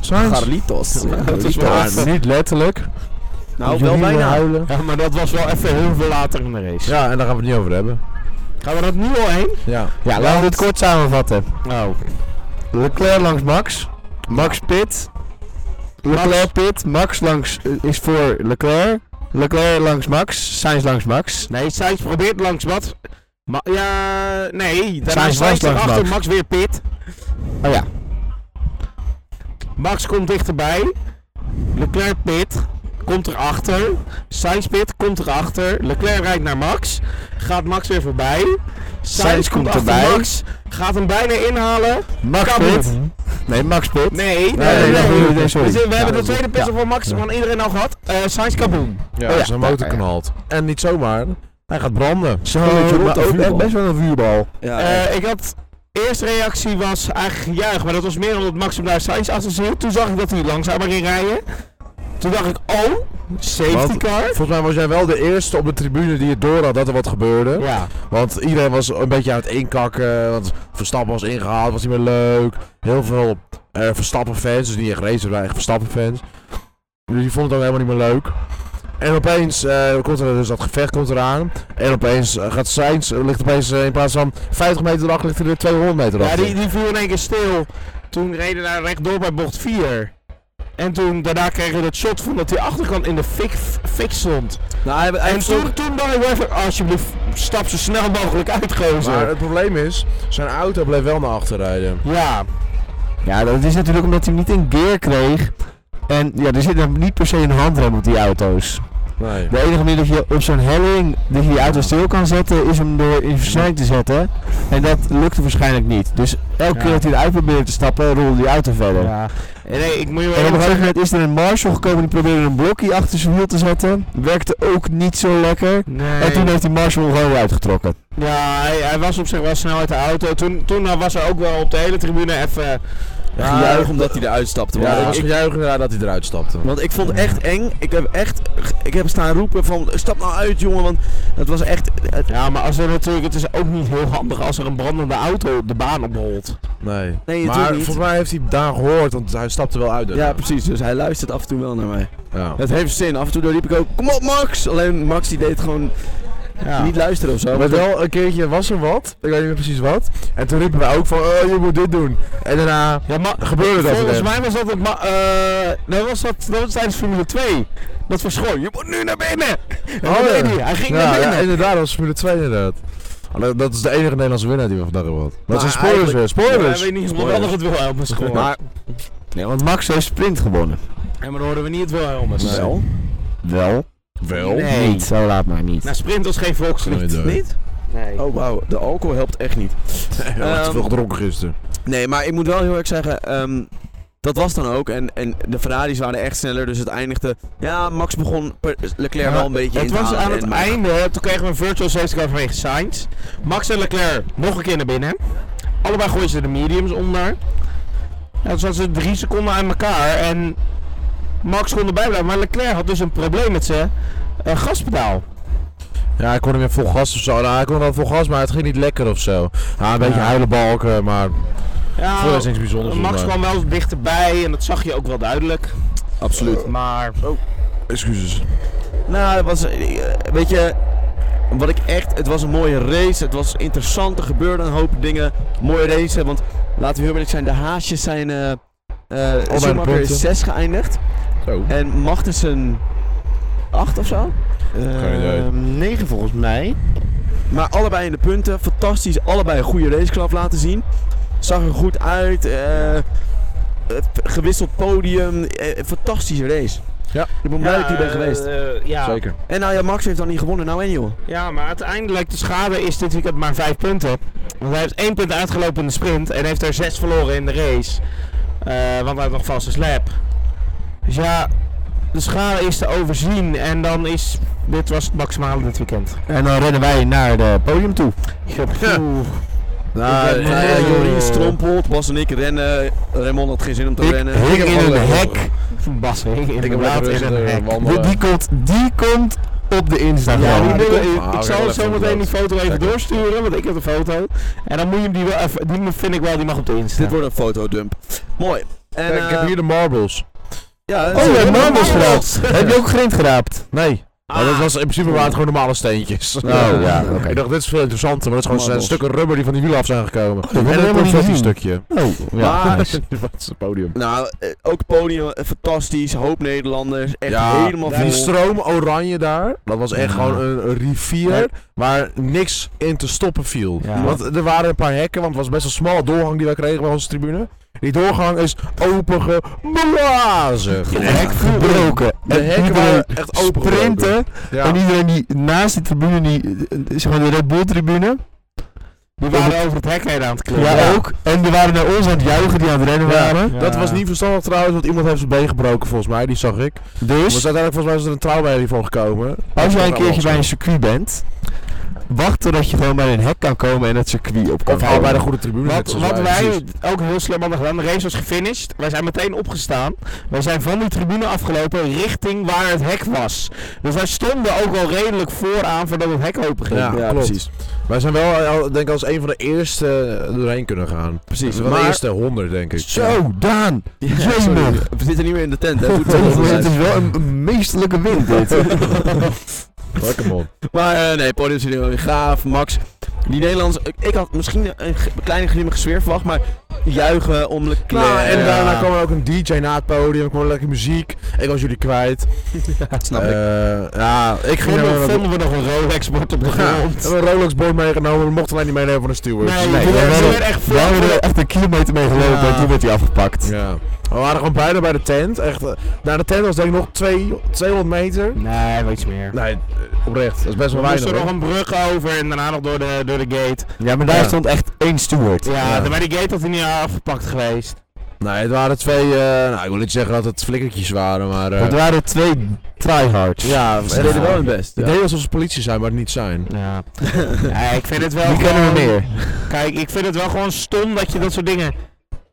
Sainz. Carlitos. Ja, dat is Carlitos. waar. Niet letterlijk. Nou, Jullie wel willen bijna. Huilen. ja. Maar dat was wel even heel veel later in de race. Ja, en daar gaan we het niet over hebben. Gaan we dat nu al heen? Ja. Ja, laten we het kort samenvatten. Oh. Nou, Leclerc langs Max. Max pit. Leclerc pit. Max langs, eh, is voor Leclerc. Leclerc langs Max. Sainz langs Max. Nee, Sainz probeert langs wat. Ma- ja, nee. Daarna Sainz Sainz, was langs erachter, Max. Max weer pit. Oh ja. Max komt dichterbij. Leclerc pit. Komt erachter. Sainz pit. Komt erachter. Leclerc rijdt naar Max. Gaat Max weer voorbij. Sainz komt, komt achter erbij. Max. Gaat hem bijna inhalen. Max Kan pit. Nee, Max pit. Nee, nee, nee, nee. nee, nee, sorry. Dus, eh, we Ja, hebben de dat is- tweede pistol van Max Ja. van iedereen al gehad. Eh Sainz kaboom. Ja, Oh ja. zijn motor knalt. En niet zomaar. Hij gaat branden. Zo, Een beetje maar rond, echt vuurbal. best wel een vuurbal. Ja, Eh, echt. ik had... Eerste reactie was eigenlijk juich, maar dat was meer omdat Max hem daar Sainz achter zit. Toen zag ik dat hij langzamer ging rijden. Toen dacht ik, oh, safety Want- car. Volgens mij was jij wel de eerste op de tribune die het door had dat er wat gebeurde. Ja. Want iedereen was een beetje aan het inkakken. Want Verstappen was ingehaald, was niet meer leuk. Heel veel eh, Verstappen-fans, dus niet echt racers, maar echt Verstappen-fans. Dus die vonden het ook helemaal niet meer leuk. En opeens eh, komt er dus dat gevecht komt eraan. En opeens eh, gaat Sainz, eh, ligt opeens eh, in plaats van 50 meter achter, ligt hij er 200 meter Ja, achter. die, die viel in één keer stil. Toen reden daar rechtdoor bij bocht 4. En toen, daarna kregen we dat shot van dat die achterkant in de fik, fik stond. Nou, hij, hij En heeft ook- toen, toen dacht ik wel even, alsjeblieft, stap zo snel mogelijk uit, Maar gozer. het probleem is, zijn auto bleef wel naar achter rijden. Ja, Ja, dat is natuurlijk omdat hij hem niet in gear kreeg. En ja, er zit dan niet per se een handrem op die auto's. Nee. De enige manier dat je op zo'n helling dat je die auto stil kan zetten, is hem door in versnelling te zetten. En dat lukte waarschijnlijk niet. Dus elke Ja. keer dat hij eruit probeerde te stappen, rolde die auto verder. Ja. En nee, ik moet je wel En op eerlijk een gegeven zeggen. moment is er een Marshall gekomen die probeerde een blokje achter zijn wiel te zetten. Werkte ook niet zo lekker. Nee. En toen heeft die Marshall hem gewoon weer uitgetrokken. Ja, hij, hij was op zich wel snel uit de auto. Toen, toen was er ook wel op de hele tribune even. eh, Ja, gejuich omdat hij eruit stapte. Ja, want ik was ik- gejuich inderdaad dat hij eruit stapte. Want ik vond het echt eng. Ik heb echt ik heb staan roepen van stap nou uit jongen, want het was echt... het- Ja, maar als er natuurlijk, het is ook niet heel handig als er een brandende auto de baan oprolt. Nee. Nee, maar natuurlijk niet. volgens mij heeft hij daar gehoord, want hij stapte wel uit. ja, precies. Dus hij luistert af en toe wel naar mij. Ja. Het heeft zin. Af en toe riep ik ook, kom op Max! Alleen Max die deed gewoon Ja. niet luisteren of zo. Maar wel een keertje was er wat, ik weet niet meer precies wat. En toen riepen wij ook van, oh je moet dit doen. En daarna Ja, maar gebeurde dat volgens weer. mij was dat het. ma- eh, dat, was dat, dat was tijdens Formule 2. Dat verschooi. Je moet nu naar binnen! En dat Oh, ja. deed hij. Hij ging Ja, naar ja, binnen. inderdaad, dat was Formule 2 inderdaad. Alleen, dat is de enige Nederlandse winnaar die we vandaag hebben gehad. Dat zijn spoilers eigenlijk- weer, spoilers! weet niet of Spoilers. het Wilhelmus gehoord. Maar- Nee, want Max heeft sprint gewonnen. En maar dan hoorden we niet het Wilhelmus. Nee. Wel? Wel? Wel? Nee. Niet, zo laat maar niet. Nou, sprint was geen volkslied. Nooit, nooit. Niet? Nee. Oh wauw, de alcohol helpt echt niet. We hadden te Ehm, veel gedronken gisteren. Nee, maar ik moet wel heel erg zeggen, ehm, dat was dan ook. En, en de Ferraris waren echt sneller, dus het eindigde... Ja, Max begon per- Leclerc Ja, wel een beetje in Het te was halen aan het en- maar- einde, hè, toen kregen we een virtual safety car vanwege Sainz. Max en Leclerc nog een keer naar binnen. Allebei gooien ze de mediums onder. Ja, toen zaten ze drie seconden aan elkaar en Max kon erbij blijven. Maar Leclerc had dus een probleem met zijn eh, gaspedaal. Ja, ik kon hem weer vol gas of zo. Nou, hij kon wel vol gas, maar het ging niet lekker of zo. Ja, een beetje Ja. huilenbalken, Oh, maar Ja, voor is niks bijzonders. eh, Max maar- kwam wel dichterbij en dat zag je ook wel duidelijk. Absoluut. Maar Excuses. Nou, het was, eh, weet je, wat ik echt, het was een mooie race. Het was interessant, er gebeurden een hoop dingen. Mooie race, want laten we heel eerlijk zijn, de haasjes zijn, eh eh de Schumacher punten. is 6 geëindigd. Zo. En Magnussen 8 of zo. Geen idee. nou. eh, negen volgens mij. Maar allebei in de punten, fantastisch. Allebei een goede raceklap laten zien. Zag er goed uit. eh, eh, gewisseld podium. eh, fantastische race. Ja. Ik ben blij dat ik hier ben eh, geweest. ja. Zeker. En nou ja, Max heeft dan niet gewonnen. Nou en joh. Ja, maar uiteindelijk de schade is dit weekend maar 5 punten. Want hij heeft 1 punt uitgelopen in de sprint en heeft er 6 verloren in de race. Eh, want hij had nog vast een slap. Dus ja, de schade is te overzien en dan is. Dit was het maximale dit weekend. En dan rennen wij naar de podium toe. Nou, ik ben, ja, eh, joh. Jorien strompelt, Bas en ik rennen. Raymond had geen zin om te Ik rennen. hing heb in gewoon een eh, lekker hek. Bas hing Ik heb later inderdaad in in een hek. Die, die komt, die komt op de Instagram. Ja, die die wil- ik, Ah, ik oké, zal wel zo even meteen die inderdaad. foto even Lekker. doorsturen, want ik heb de foto. En dan moet je hem die wel even, die vind ik wel, die mag op de Insta. Dit wordt een fotodump. Mooi. En, Kijk, ik heb eh, hier de marbles. ja, Oh, zo- je hebt marbles geraapt. Heb je ook grind geraapt? Nee. Nou, dat was in principe waren het gewoon normale steentjes. Ah. Oh, ja, oké. Ik dacht, dit is veel interessanter, maar dat is gewoon Marbles. stukken rubber die van die wielen af zijn gekomen. dat Oh, hebben we en een helemaal niet confetti gezien. stukje. Oh, Maar- ja. nice. Wat is het podium? Nou, eh, ook podium, eh, fantastisch. Hoop Nederlanders. Echt helemaal die vol. stroom oranje daar, dat was echt Ja. gewoon een, een rivier Ja. waar niks in te stoppen viel. Ja. Want er waren een paar hekken, want het was best een smalle doorgang die wij kregen bij onze tribune. Die doorgang is opengeblazen. De hek gebroken. De En hekken iedereen waren echt opengebroken. Sprinten. Ja. En iedereen die naast die tribune, die, eh, is gewoon de Red Bull tribune. Die waren over het hek heen aan het klimmen. Ja, ook. En er waren naar ons aan het juichen die aan het rennen Ja. waren. Ja. Dat was niet verstandig trouwens, want iemand heeft zijn been gebroken volgens mij, die zag ik. Maar Dus, uiteindelijk volgens mij is er een trouwbij hiervoor gekomen. als jij een keertje bij een circuit bent wacht totdat je gewoon bij een hek kan komen en het circuit op kan Of haal bij de komen. goede tribune. Oh. Wat, zitten, zoals wat wij- wij ook heel slim hadden gedaan, de race was gefinished. Wij zijn meteen opgestaan. Wij zijn van die tribune afgelopen richting waar het hek was. Dus wij stonden ook al redelijk vooraan voordat het hek open ging. Ja, Ja, klopt. precies. Wij zijn wel, eh, al- denk ik, als een van de eerste eh, doorheen kunnen gaan. Precies. Wel de maar- eerste 100, denk ik. Zo, Daan! Ja, Jemig. sorry, we zitten niet meer in de tent, hè? Het moet wel Het zijn. is wel een, een meestelijke wind dit. Fuck hem op. Maar eh, nee, podium zit heel gaaf. Max, die Nederlanders, ik, ik had misschien een ge- kleine glimmige sfeer verwacht, maar juichen om Leclerc. Nou, en Ja, daarna kwam er ook een DJ na het podium, kwam er lekker muziek. Ik was jullie kwijt. snap ik. Eh, ja, ik ging Vonden, naar een- vonden we nog een Rolex-bord op de Ja, grond? we hebben een Rolex-bord meegenomen, we mochten alleen niet meenemen van de steward. Nee, Nee, we we werden werden- echt Daar hebben we echt een kilometer mee gelopen Ja. en toen werd hij afgepakt. Ja. We waren gewoon bijna bij de tent. Echt, eh, naar de tent was denk ik nog twee, 200 meter. Nee, weet je meer. Nee, eh, oprecht. Dat is best We wel moesten weinig. nog hoor. een brug over en daarna nog door de, door de gate. Ja, maar daar Ja. stond echt één steward. Ja, Ja. bij die gate had hij niet afgepakt geweest. Nee, het waren twee, eh, nou ik wil niet zeggen dat het flikkertjes waren, maar... eh, Dat waren twee tryhards. ja, Ze deden wel hun best. Het ja. deed alsof ze politie zijn, maar het niet zijn. Ja. ja ik vind het wel Die kennen we gewoon- meer. Kijk, ik vind het wel gewoon stom dat je dat soort dingen...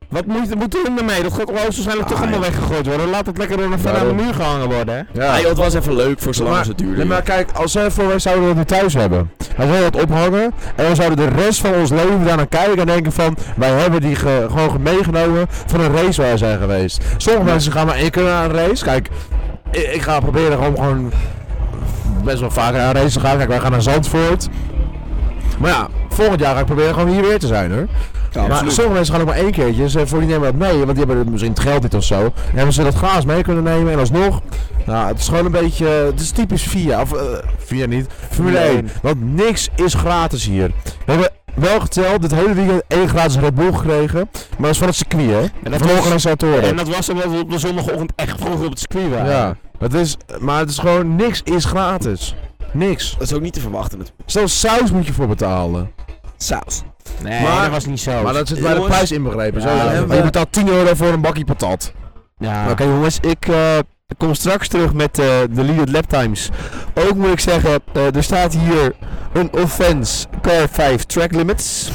Wat moet, moet hun ermee? Dat gaat oh, waarschijnlijk toch Ah, allemaal weggegooid worden. Laat het lekker door een verder aan de Waarom? muur gehangen worden. hè? Ah, Ja. joh, het was even leuk voor zolang Maar- het duurde. Nee, maar kijk, als zij voor wij zouden dat nu thuis hebben, dan zouden we dat ophangen en we zouden de rest van ons leven daar naar kijken en denken van, wij hebben die ge- gewoon ge- meegenomen van een race waar we zijn geweest. Sommige mensen gaan maar één keer naar een race. Kijk, i- ik, ga proberen gewoon, gewoon best wel vaker naar een race te gaan. Kijk, wij gaan naar Zandvoort. Maar ja, volgend jaar ga ik proberen gewoon hier weer te zijn hoor. Ja, maar absoluut. sommige mensen gaan ook maar één keertje. Dus eh, voor die nemen dat mee, want die hebben er misschien het geld niet of zo. En hebben ze dat gaas mee kunnen nemen en alsnog. Nou, het is gewoon een beetje. eh, Het is typisch VIA. Of eh, VIA niet. Formule Nee. 1. Want niks is gratis hier. We hebben wel geteld, dit hele weekend één gratis Red Bull gekregen. Maar dat is van het circuit, hè? En van de was- en organisatoren. dat was omdat we op de zondagochtend echt vroeg op het circuit waren. Ja. Het is, maar het is gewoon niks is gratis. Niks. Dat is ook niet te verwachten natuurlijk. Zelfs saus moet je voor betalen. Saus. Nee, Maar- dat was niet zo. Maar dat zit bij de Jongens. prijs inbegrepen. Oh, Ja, zo is het. hebben je we- betaalt 10 euro voor een bakje patat. ja. Oké jongens, ik eh, kom straks terug met eh, de leaded lap times. Ook moet ik zeggen, eh, er staat hier een offense car 5 track limits.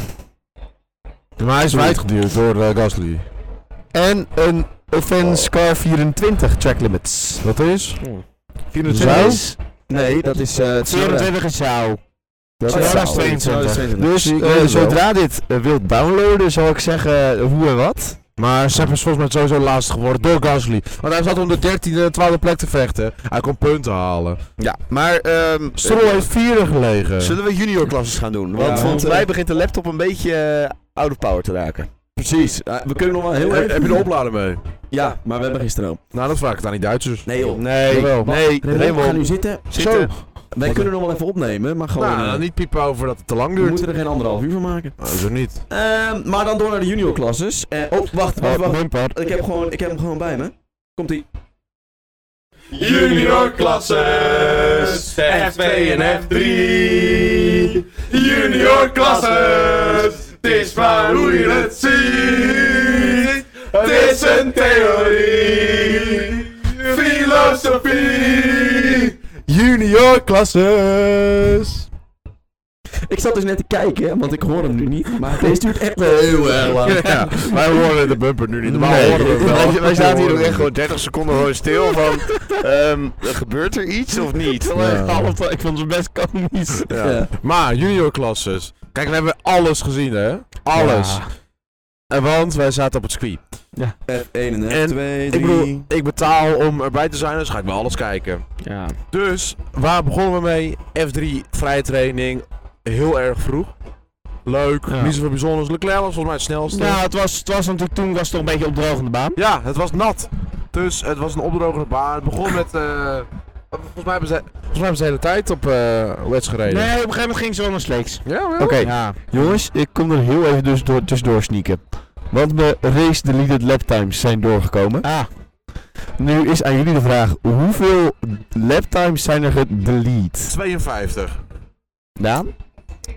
Maar hij is Sorry. wijdgeduwd door eh, Gasly. En een offense car 24 track limits. Dat is? 24 Zo? is... Nee, dat is... eh, Tsunoda. 24 is zo. Dat Oh, is ja, wel. dat is 22. Dus Ik eh, weet het wel. zodra dit eh, wilt downloaden, zal ik zeggen hoe en wat. Maar Sepp is volgens mij sowieso laatste geworden door Gasly. Want hij zat om de 13e en 12e plek te vechten. Hij kon punten halen. Ja, maar... ehm, Stroll heeft vierde gelegen. eh? Zullen we junior klasses gaan doen? Want eh, Ja. volgens mij begint de laptop een beetje eh, out of power te raken. Precies. we kunnen nog wel heel Heb, heb je de oplader mee? Ja, maar we hebben geen stroom. Nou, dat vraag ik aan die Duitsers. Nee joh. Nee, Jawel. nee, we gaan nu Raymond. zitten. Zo. Wij kunnen nog wel even opnemen, maar gewoon... Nou, eh, niet piepen over dat het te lang we duurt. moeten er geen anderhalf uur van maken. Nou, zo niet. Ehm, maar dan door naar de junior klasses. Eh, oh, wacht, wacht, Eh, wacht. Ik heb, gewoon, ik heb hem gewoon bij me. Komt ie. Junior klasses, F2 en F3. Junior klasses, het is maar hoe je het ziet. Het is een theorie, filosofie. Junior klasses! Ik zat dus net te kijken, want ik hoor hem nu niet. Maar deze duurt echt heel erg lang. Ja, wij horen de bumper nu niet. Normaal Nee. horen we hem wel. Wij, wij zaten hier ook Horen echt we gewoon 30 seconden gewoon stil van, ehm, gebeurt er iets of niet? Ja. Ik vond het best komisch. hem. Ja. Maar junior klasses. Kijk, we hebben alles gezien, hè? Alles. En want wij zaten op het circuit. F1 en F2, En, 3. Ik bedoel, ik betaal om erbij te zijn, dus ga ik wel alles kijken. Ja. Dus, waar begonnen we mee? F3, vrije training, heel erg vroeg. Leuk, Ja. niet zoveel bijzonders. Leclerc was volgens mij het snelste. Nou, het was, het was natuurlijk toen was het toch een beetje opdrogende baan. Ja, het was nat. Dus het was een opdrogende baan. Het begon met, eh, volgens, mij hebben ze, volgens mij hebben ze de hele tijd op eh wedstrijd gereden. Nee, op een gegeven moment ging ze wel naar Sleeks. Ja, wel. Oké, Ja. jongens, ik kom er heel even dus door, tussendoor sneaken. Want mijn race deleted laptimes zijn doorgekomen. Ah. Nu is aan jullie de vraag, hoeveel laptimes zijn er gedelete? 52. Daan?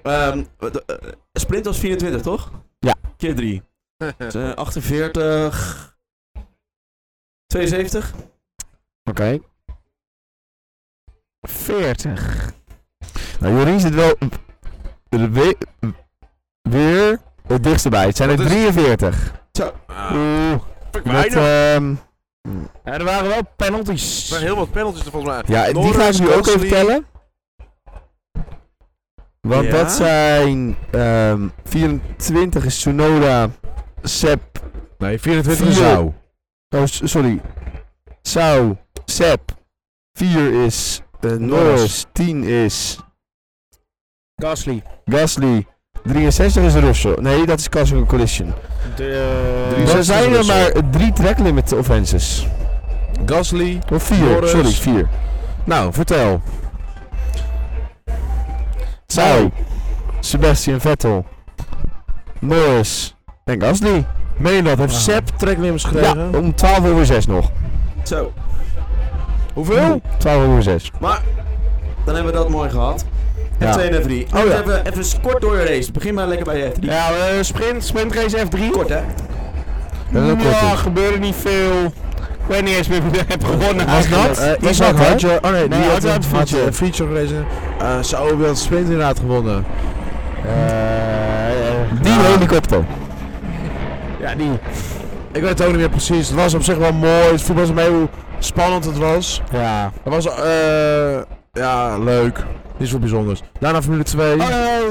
Ehm, de- eh, sprint was 24, toch? Ja. Keer 3. Dus, eh, 48. 72. Oké. 40. Nou, Jorien zit wel de we- weer het dichtst bij. Het zijn er Dat is- 43. Oeh. Fuck Met, weinig. ehm En er waren wel penalties. Er zijn heel wat penalties er volgens mij. ja, die Norris, ga ik nu ook even Gasly. tellen. Want Ja. dat zijn ehm 24 is Tsunoda, Sepp, Nee, 24 is Vier. zou. oh s- sorry, Sau, Sepp, 4 is eh, Norris, 10 is Gasly. Gasly, 63 is Russell. Nee, dat is Castle en Collision. De, Dan eh, zijn er maar drie track limit offenses. Gasly. Of vier, Norris. sorry, vier. Nou, vertel. Sau, Sebastian Vettel, Norris en Gasly. Meen je dat? Heeft Sepp tracklimmers gekregen? Ja, om 12 over 6 nog. Zo. Oh. Hoeveel? 12 over 6. Maar, dan hebben we dat mooi gehad. Ja. F2 en F3. Oh, Nu ja. even, even kort door je race. Begin maar lekker bij je F3. Ja, eh, sprint, sprintrace F3. Kort hè? Dat is ook kort. dus. Ja, gebeurde niet veel. Ik weet niet eens meer wie er heeft gewonnen Was eigenlijk. dat? Eh, was Isaac dat, hè? had je... Oh nee, Nee, die had had een een feature. feature. Een feature gerezen. Eh zou wel het sprint inderdaad gewonnen. Eh, Die Ah. helikopter. Ja, die. Ik weet het ook niet meer precies. Het was op zich wel mooi. Het voetbal was mee hoe spannend het was. Ja. Het was, eh ja, leuk. Niets voor bijzonders. Daarna Formule 2.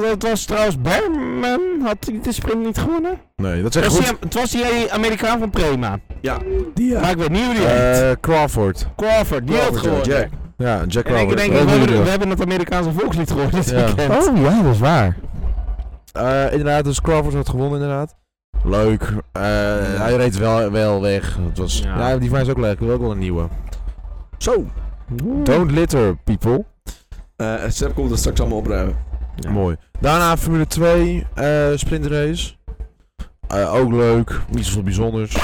dat was trouwens Berman. Had hij de sprint niet gewonnen? Nee, dat is Het echt was, goed. die, het was die Amerikaan van Prema. Ja. Die, Maar ik weet niet hoe die heet. Eh Crawford. Crawford, die had Crawford, ja, gewonnen. Jack. Ja, Jack En ik Crawford. denk, Dat we weet ik hebben, nog. we hebben het Amerikaanse volkslied gehoord dit Ja. weekend. Oh ja, dat is waar. Eh, inderdaad, dus Crawford had gewonnen inderdaad. Leuk. Eh, Hij reed wel, wel weg. Het was, Ja. ja. die van mij is ook leuk. Ik wil ook wel een nieuwe. Zo. Don't litter, people. Eh Sepp komt het straks allemaal opruimen. Ja. Mooi. Daarna Formule 2, eh sprintrace. Eh, ook leuk. Niet zoveel bijzonders.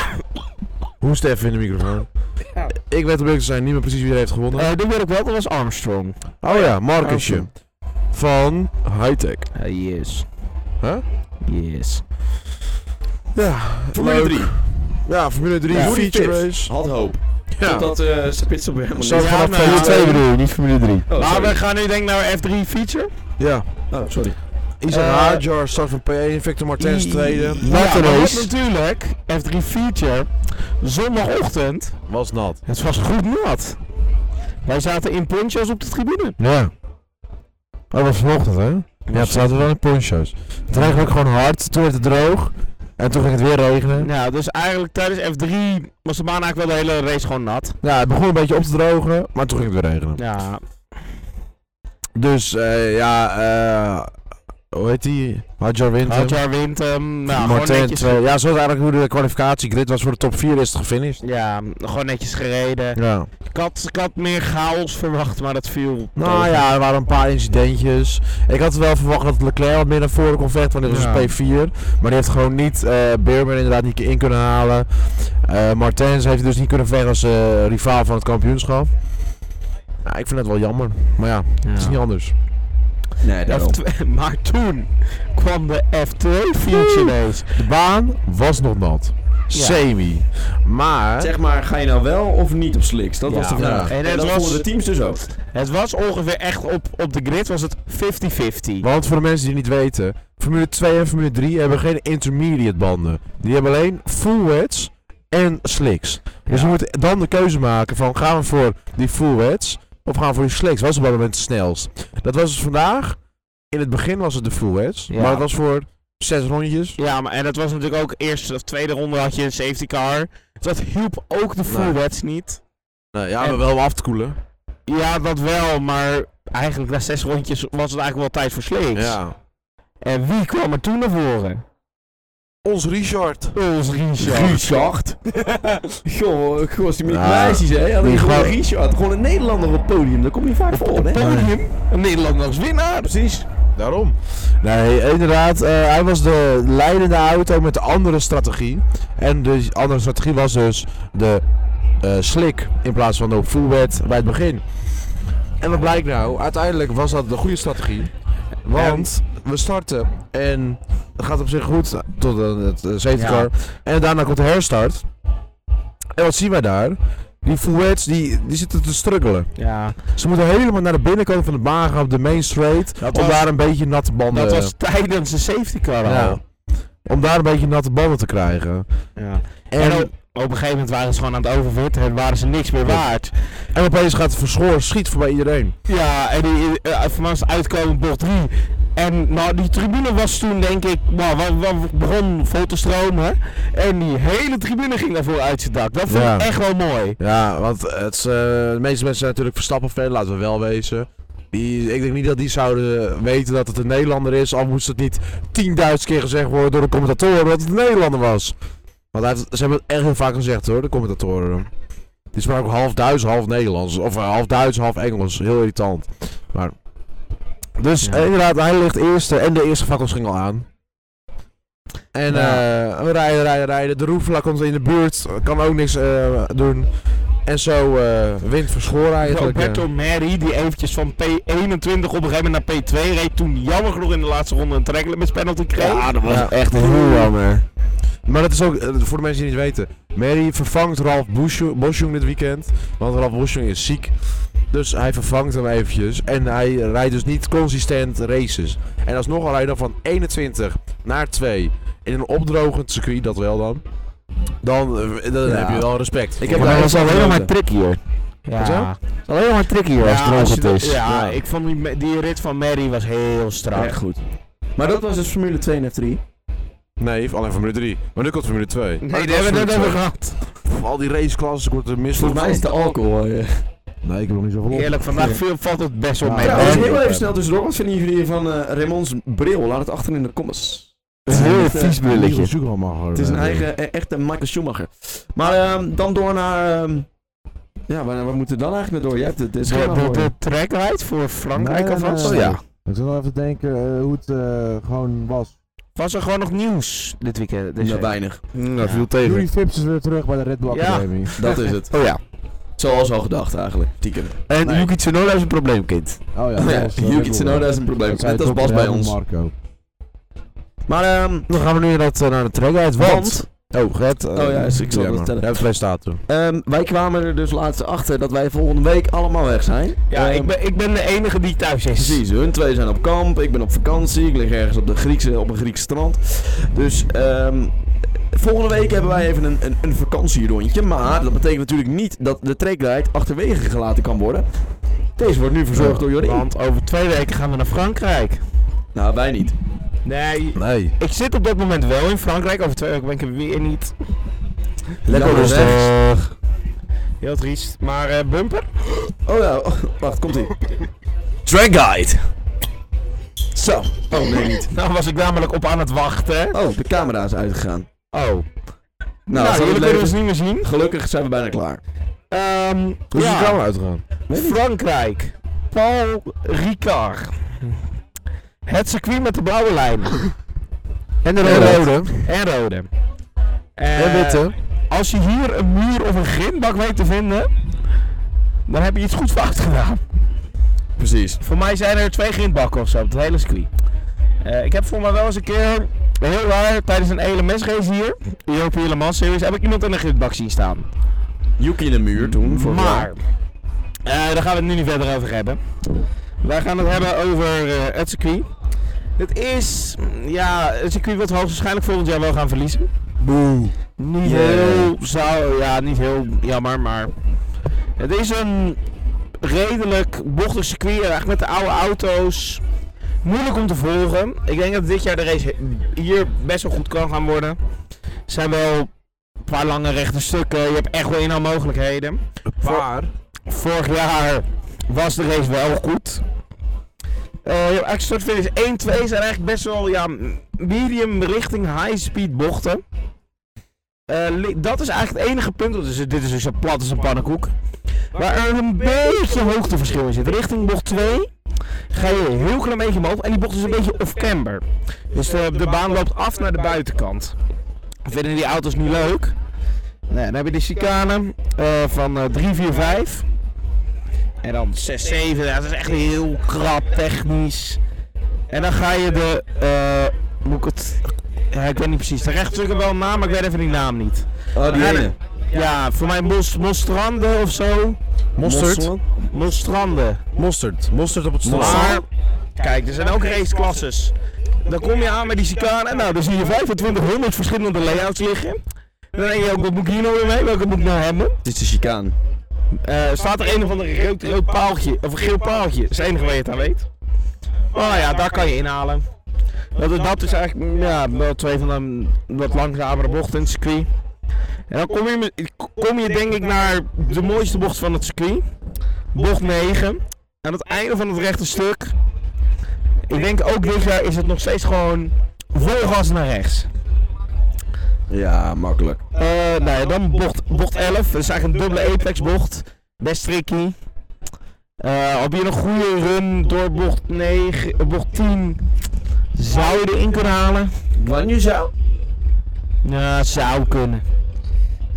Hoest even in de microfoon. Ik weet op te zijn niet meer precies wie er heeft gewonnen. Eh, dit weet ik wel, dat was Armstrong. oh ja, Marcusje. Van Hightech. yes. Huh? Yes. Ja, Formule leuk. 3. Ja, Formule 3 Ja. feature Fifth. race. Had hoop. Ja. Totdat eh ze pitstop weer Zo helemaal niet. vanaf maar- Formule Formule 2 bedoel je, niet Formule 3. Oh, maar sorry. we gaan nu denk ik naar F3 feature. Ja. Oh, sorry. Isaac Eh, Hajar start van P1, Victor Martens tweede. Wat een maar race. wat natuurlijk, F3 feature, zondagochtend, Was nat. het was goed nat. Wij zaten in ponchos op de tribune. Ja. Oh, dat was vanochtend, hè? Ja, het zaten wel in poncho's. Het regende ook gewoon hard, toen werd het droog. En toen ging het weer regenen. Nou, dus eigenlijk tijdens F3 was de baan eigenlijk wel de hele race gewoon nat. Ja, Nou, het begon een beetje op te drogen, maar toen ging het weer regenen. Ja, Dus, eh, ja, eh... Hoe heet die? Hajar wint hem. Hadjar wint hem. Nou, gewoon Martens netjes. tweede. Ja, zoals eigenlijk hoe de kwalificatiegrid was voor de top 4 is het gefinished. Ja, gewoon netjes gereden. Ja. Ik had, ik had meer chaos verwacht, maar dat viel. Nou tegen. ja, er waren een paar incidentjes. Ik had wel verwacht dat Leclerc wat meer naar voren kon vechten, want dit was Ja. een P4. Maar die heeft gewoon niet, eh Beerman inderdaad niet in kunnen halen. Eh, Martens heeft dus niet kunnen vechten als eh, rivaal van het kampioenschap. Nou, ik vind dat wel jammer. Maar ja, het is niet anders. Nee, daarom. F2 maar toen kwam de F2 feature race. De baan was nog nat. Ja. Semi. Maar... Zeg maar, ga je nou wel of niet op slicks? Dat Ja. was de vraag. Ja. En, En het dat was- vonden de teams dus ook. Het was ongeveer echt op, op de grid was het 50-50. Want voor de mensen die het niet weten, Formule 2 en Formule 3 hebben geen intermediate banden. Die hebben alleen full wets en slicks. Dus Ja. je moet dan de keuze maken van gaan we voor die full wets of gaan we voor die slicks. Wat is op dat moment het snelst? Dat was dus vandaag. In het begin was het de full wets, Ja. maar het was voor zes rondjes. Ja, maar en dat was natuurlijk ook eerst of tweede ronde had je een safety car. Dus dat hielp ook de full Nee. wets niet. ja, maar wel af te koelen. Ja, dat wel, maar eigenlijk na zes rondjes was het eigenlijk wel tijd voor slicks. En wie kwam er toen naar voren? Ons Richard. Ons Richard. Richard. Joh, ik was die met die Ja. meisjes, hè? Ja, Die die gewoon gewoon- Richard. Gewoon een Nederlander op het podium. Daar kom je vaak voor, hè? Podium. Een Nederlander als winnaar. Precies. Daarom. Nee, inderdaad. eh, hij was de leidende auto met de andere strategie. En de andere strategie was dus de eh, slick in plaats van de full wet bij het begin. En wat blijkt nou? Uiteindelijk was dat de goede strategie. Want we starten en het gaat op zich goed tot een het, eh, safety Ja. car. En daarna komt de herstart. En wat zien wij daar? Die Fouets, die, die zitten te struggelen. Ja, Ze moeten helemaal naar de binnenkant van de baan gaan op de main straight. Dat om was- daar een beetje natte banden... dat was tijdens de safety car al. Ja. Om daar een beetje natte banden te krijgen. Ja. En, En op, op een gegeven moment waren ze gewoon aan het overwitten en waren ze niks meer waard. en opeens gaat Verschoor schiet voorbij iedereen. Ja, en die, eh, voor mij was het uitkomen bocht 3. En nou, die tribune was toen denk ik, nou, wa- wa- begon vol te stromen. En die hele tribune ging daarvoor uit zijn dak. Dat vond Ja. ik echt wel mooi. Ja, want het is, eh, de meeste mensen zijn natuurlijk Verstappen fan, laten we wel wezen. Die, ik denk niet dat die zouden weten dat het een Nederlander is, al moest het niet 10.000 keer gezegd worden door de commentatoren dat het een Nederlander was. Want hij heeft- ze hebben het echt heel vaak gezegd hoor, de commentatoren. Die spraken ook half Duits, half Nederlands. Of eh, half Duits, half Engels. Heel irritant. Maar, dus Ja. eh, inderdaad, hij ligt eerste en de eerste fakkels ging al aan. En eh, we rijden, rijden, rijden. De Roefla komt in de buurt, kan ook niks eh, doen. En zo eh wint Verschoor eigenlijk. eh. Roberto Meri, die eventjes van P21 op een gegeven moment naar P2 reed. Toen jammer genoeg in de laatste ronde een tracklimits penalty kreeg. Ja, dat was Ja. echt heel jammer. Maar dat is ook, eh, voor de mensen die het niet weten, Mary vervangt Ralf Bosjoeng- Bosjoeng dit weekend. Want Ralf Bosjoeng is ziek. Dus hij vervangt hem eventjes. En hij rijdt dus niet consistent races. En alsnog al hij dan van 21 naar 2 in een opdrogend circuit, dat wel dan. Dan, eh, dan Ja. heb je wel respect. Ik heb maar dat is alleen nog maar tricky hoor. Ja. Zo? Dat is alleen nog maar tricky hoor, als het als je er dat- is. ja, Ja. ik vond die, me- die rit van Mary was heel strak. Echt goed. Maar dat was dus Formule 2 en F3. Nee, alleen Formule 3. Maar nu komt Formule 2. Nee, die hebben we net over gehad. Al die raceklassen, ik word er misselijk Volgens mij is van. de alcohol. eh. Nee, ik heb nog niet zoveel op. Eerlijk, vandaag veel, valt het best wel mee. Ja, nee, dus nee, heel even nee. snel tussendoor. Wat vinden jullie van eh, Raymonds bril? Laat het achter in de comments. Het is een heel Het, eh, vies brilletje. Zoek wel maar, hoor. Het is een Nee. eigen, eh, echte Michael Schumacher. Maar ehm, dan door naar... ehm, ja, waar, waar moeten we dan eigenlijk naar door? Jij hebt het, het De, schema de, voor je. de trackride voor Frankrijk Nee, alvast? Oh, nee, nee. ja. Ik zal wel even denken eh, hoe het eh, gewoon was. Was er gewoon nog nieuws dit weekend? Deze Nou, week? weinig. Mm, dat viel tegen. Jury Phipps is weer terug bij de Red Bull Ja. Academy. Dat is het. Oh ja. Zoals al gedacht eigenlijk. Tieken. En Nee. Yuki Tsunoda is een probleemkind. Oh ja, Ja, dat was, eh, Red Yuki Bull. Tsunoda is een probleem. Dat zei Net als Top Bas bij Red en ons. Marco. Maar ehm, Dan gaan we nu dat, eh, naar de trackheid, want... want Oh, Gert. eh, Oh ja, is- ik zal ja, dat maar. tellen. Ja, twee staat toen. ehm, wij kwamen er dus laatst achter dat wij volgende week allemaal weg zijn. Ja, Ehm, ik, ben, ik ben de enige die thuis is. Precies, hun twee zijn op kamp, ik ben op vakantie, ik lig ergens op, de Griekse, op een Grieks strand. Dus ehm, volgende week hebben wij even een, een, een vakantierondje. Maar dat betekent natuurlijk niet dat de trekrijd achterwege gelaten kan worden. Deze wordt nu verzorgd door Jorien. Want over twee weken gaan we naar Frankrijk. Nou, wij niet. Nee, Nee. ik zit op dat moment wel in Frankrijk. Over twee weken ben ik er weer niet. Lekker dus, Jammer, rustig. hè? Heel triest. Maar eh, Bumper? Oh ja, oh, wacht, komt ie. Drag Guide. Zo. Oh nee, niet. Nou was ik namelijk op aan het wachten. Oh, de camera is uitgegaan. Oh. Nou, Nou, zal jullie het kunnen leven- ons niet meer zien. gelukkig zijn we bijna klaar. Ehm, Hoe is ja. nou? de camera uitgegaan? Frankrijk. Paul Ricard. Het circuit met de blauwe lijn. En de rode. En rode. En Eh, witte. Als je hier een muur of een grindbak weet te vinden, dan heb je iets goed fout gedaan. Precies. Voor mij zijn er twee grindbakken of zo, op het hele circuit. Eh, ik heb voor mij wel eens een keer, heel raar, tijdens een E LMS race hier, European Le Mans Series, heb ik iemand in een grindbak zien staan. Yuki in de muur toen, voor Maar, eh, daar gaan we het nu niet verder over hebben. Wij gaan het hebben over eh, het circuit. Het is, ja, een circuit wat we hoogstwaarschijnlijk volgend jaar wel gaan verliezen. Boe. Niet Yeah. heel, zou, ja, niet heel jammer, maar het is een redelijk bochtig circuit, en eigenlijk met de oude auto's. Moeilijk om te volgen. Ik denk dat dit jaar de race he- hier best wel goed kan gaan worden. Er zijn wel een paar lange rechte stukken, je hebt echt wel inhaal mogelijkheden. Paar. Vorig jaar was de race wel goed. Eh ja, start finish 1-2 zijn eigenlijk best wel ja, medium richting high speed bochten. Eh, li- dat is eigenlijk het enige punt, want dus dit is dus zo plat als een pannenkoek. Waar er een beetje hoogteverschil in zit. Richting bocht 2 ga je een heel klein beetje omhoog en die bocht is een beetje off-camber. Dus de, de baan loopt af naar de buitenkant. Vinden die auto's niet leuk? Nou, ja, dan heb je de chicane eh, van eh 3, 4, 5. En dan 6, 7, ja, dat is echt heel krap technisch. En dan ga je de, eh, moet ik het, ja, ik weet niet precies, de rechtstuk wel een naam, maar ik weet even die naam niet. Oh, die Ja, ene. nee. Ja, voor mij mos, mostranden of zo. Mosterd. Mosselen. Mostranden. Mosterd. Mosterd op het strand. Ah, Maar, kijk, er zijn ook raceklasses. Dan kom je aan met die chicane. Nou, dan zie je 2500 verschillende layouts liggen. Dan denk je ook, wat moet ik hier nou weer mee? Welke moet ik nou hebben? Dit is de chicaan. Eh, staat er een of ander rood, rood paaltje, of een geel paaltje. Dat is het enige waar je het aan weet. Maar nou ja, daar kan je inhalen. Dat, is- dat is eigenlijk mm, ja, wel twee van de mm, wat langzamere bochten in het circuit. En dan kom je, met- kom je denk ik naar de mooiste bocht van het circuit. Bocht 9. Aan het einde van het rechte stuk. Ik denk ook dit jaar is het nog steeds gewoon vol gas naar rechts. Ja, makkelijk. Eh, nou ja, dan bocht, bocht 11. Dat is eigenlijk een dubbele apex bocht. Best tricky. Eh op hier een goede run door bocht 9, eh, bocht 10 zou je erin kunnen halen. Wanneer zou? Ja, zou kunnen.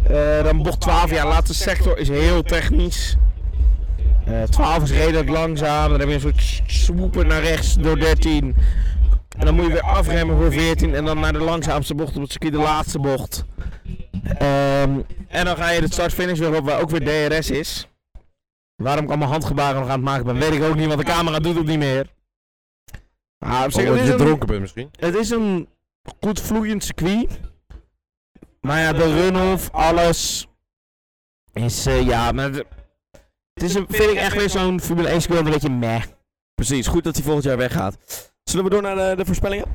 Eh, dan bocht 12, ja, laatste sector is heel technisch. Eh 12 is redelijk langzaam, dan heb je een soort swoepen naar rechts door 13. En dan moet je weer afremmen voor 14 en dan naar de langzaamste bocht op het circuit, de laatste bocht. Ehm, en dan ga je de start-finish weer op, waar ook weer DRS is. Waarom ik allemaal handgebaren nog aan het maken ben, weet ik ook niet, want de camera doet het niet meer. Ah, op zich, het Omdat is Oh, je een- dronken bent misschien. het is een goed vloeiend circuit. Maar ja, de runoff, alles. Is eh, ja, maar. de- Het is een, vind ik echt weer zo'n Formule 1 circuit een beetje meh. Precies, goed dat hij volgend jaar weggaat. Zullen we door naar de, de voorspellingen?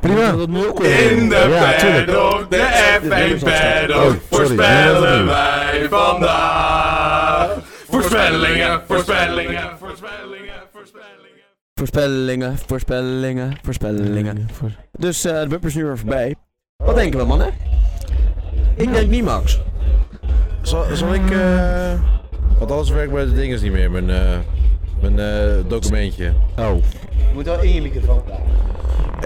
Prima. Dat moet ook weer. In de Ja, tuurlijk. paddock, de F1 Oh, paddock, sorry. voorspellen Ja, wij vandaag. Voorspellingen, voorspellingen, voorspellingen, voorspellingen. Voorspellingen, voorspellingen, voorspellingen. Dus eh, de bumper is nu weer voorbij. Wat denken we, mannen? Ik denk niet, Max. Zal, zal ik... eh, want alles werkt bij de dinges niet meer. Mijn, eh, mijn eh, documentje. Oh. Je moet wel in je microfoon praten.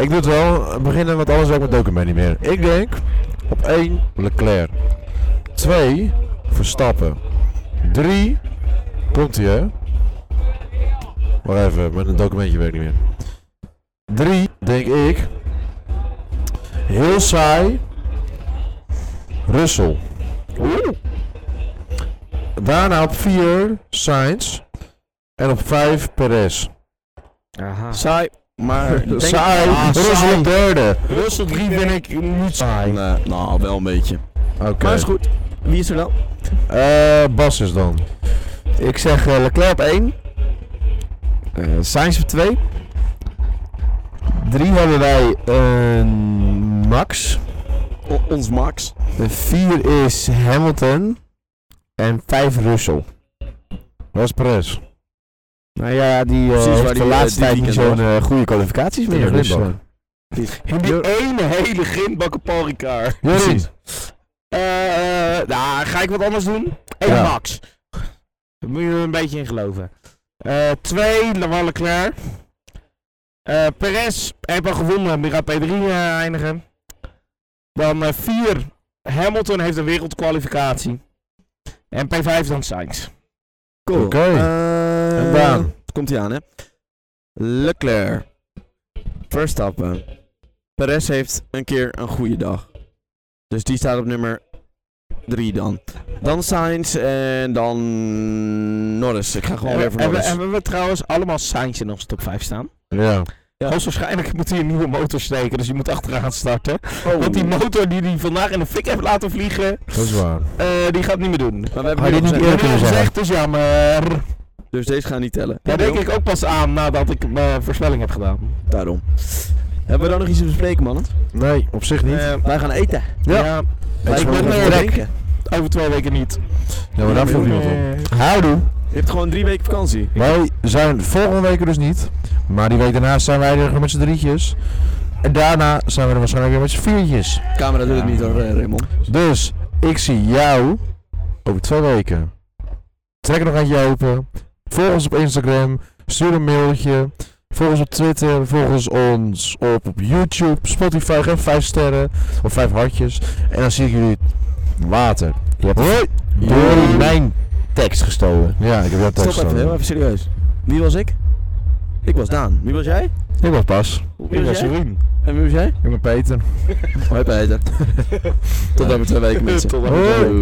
Ik doe het wel. Beginnen met alles werkt met document niet meer. Ik denk op 1 Leclerc. 2 Verstappen. 3 komt ie hè. Wacht even, mijn documentje werkt niet meer. 3 denk ik. Heel saai. Russell. Daarna op 4 Sainz. En op 5 Perez. Aha. Saai, maar... denk- Saai. Ah, Russell op derde. Russell 3 vind ik niet saai. Nee, nou, wel een beetje. Oké. Maar is goed. Wie is er dan? Eh, Bas is dan. Ik zeg eh, Leclerc op 1. Eh Sainz op 2. 3 hebben wij eh, Max. O- ons Max. 4 is Hamilton. En 5 Russell. Dat is Perez. Nou ja, die Precies eh waar heeft die, de eh, laatste dit tijd niet weekend zo'n eh, goede kwalificaties In meer. de Dus, eh, grindbak. En die ene hele grindbakken Paul Ricard. Jorien. Eh, eh, nou, ga ik wat anders doen? 1 Ja. Max. Daar moet je er een beetje in geloven. Eh, 2 Laval Leclerc. Eh Perez heeft al gewonnen, die gaat P3 eh, eindigen. Dan 4 Hamilton heeft een wereldkwalificatie. En P5 dan Sainz. Cool. Oké. Eh, En Daan? Komt hij aan, hè? Leclerc. Verstappen. Perez heeft een keer een goede dag. Dus die staat op nummer 3 dan. Dan Sainz en dan Norris. Ik ga gewoon weer voor Eh, hebben, Norris. hebben we trouwens allemaal Sainz in onze top 5 staan? Ja. Ja. Hoogstwaarschijnlijk moet hij een nieuwe motor steken, dus je moet achteraan starten. Oh. Want die motor die hij vandaag in de fik heeft laten vliegen, Dat is waar. eh, die gaat het niet meer doen. Maar we hebben Had nu je al niet gezegd- eerder kunnen Dat is zeggen? echt dus jammer. Dus deze gaan niet tellen. Daar denk ik ook pas aan nadat ik mijn voorspelling heb gedaan. Daarom. Hebben we dan nog iets te bespreken, mannen? Nee, op zich niet. Eh, Ehm, Wij gaan eten. Ja. Wij ik ben gaan er. drinken. over twee weken niet. ja, maar daar viel niemand op. Houdoe. Je hebt gewoon drie weken vakantie. Wij zijn volgende week er dus niet. Maar die week daarna zijn wij er gewoon met z'n drietjes. En daarna zijn we er waarschijnlijk weer met z'n viertjes. Camera doet het niet hoor, eh, Raymond. Dus, ik zie jou over twee weken. Trek er nog eentje open. Volg ons op Instagram. Stuur een mailtje. Volg ons op Twitter. Volg ons ons op, op YouTube. Spotify. Geef vijf sterren. Of vijf hartjes. En dan zie ik jullie later. Je hebt Hoi. Door mijn tekst gestolen. Ja, ik heb jouw Stop tekst even, heel even serieus. Wie was ik? Ik was Daan. Wie was jij? Ik was Bas. Wie was jij? Jeroen. En wie was jij? Ik ben Peter. Hoi Peter. Tot over twee weken mensen. Hoi.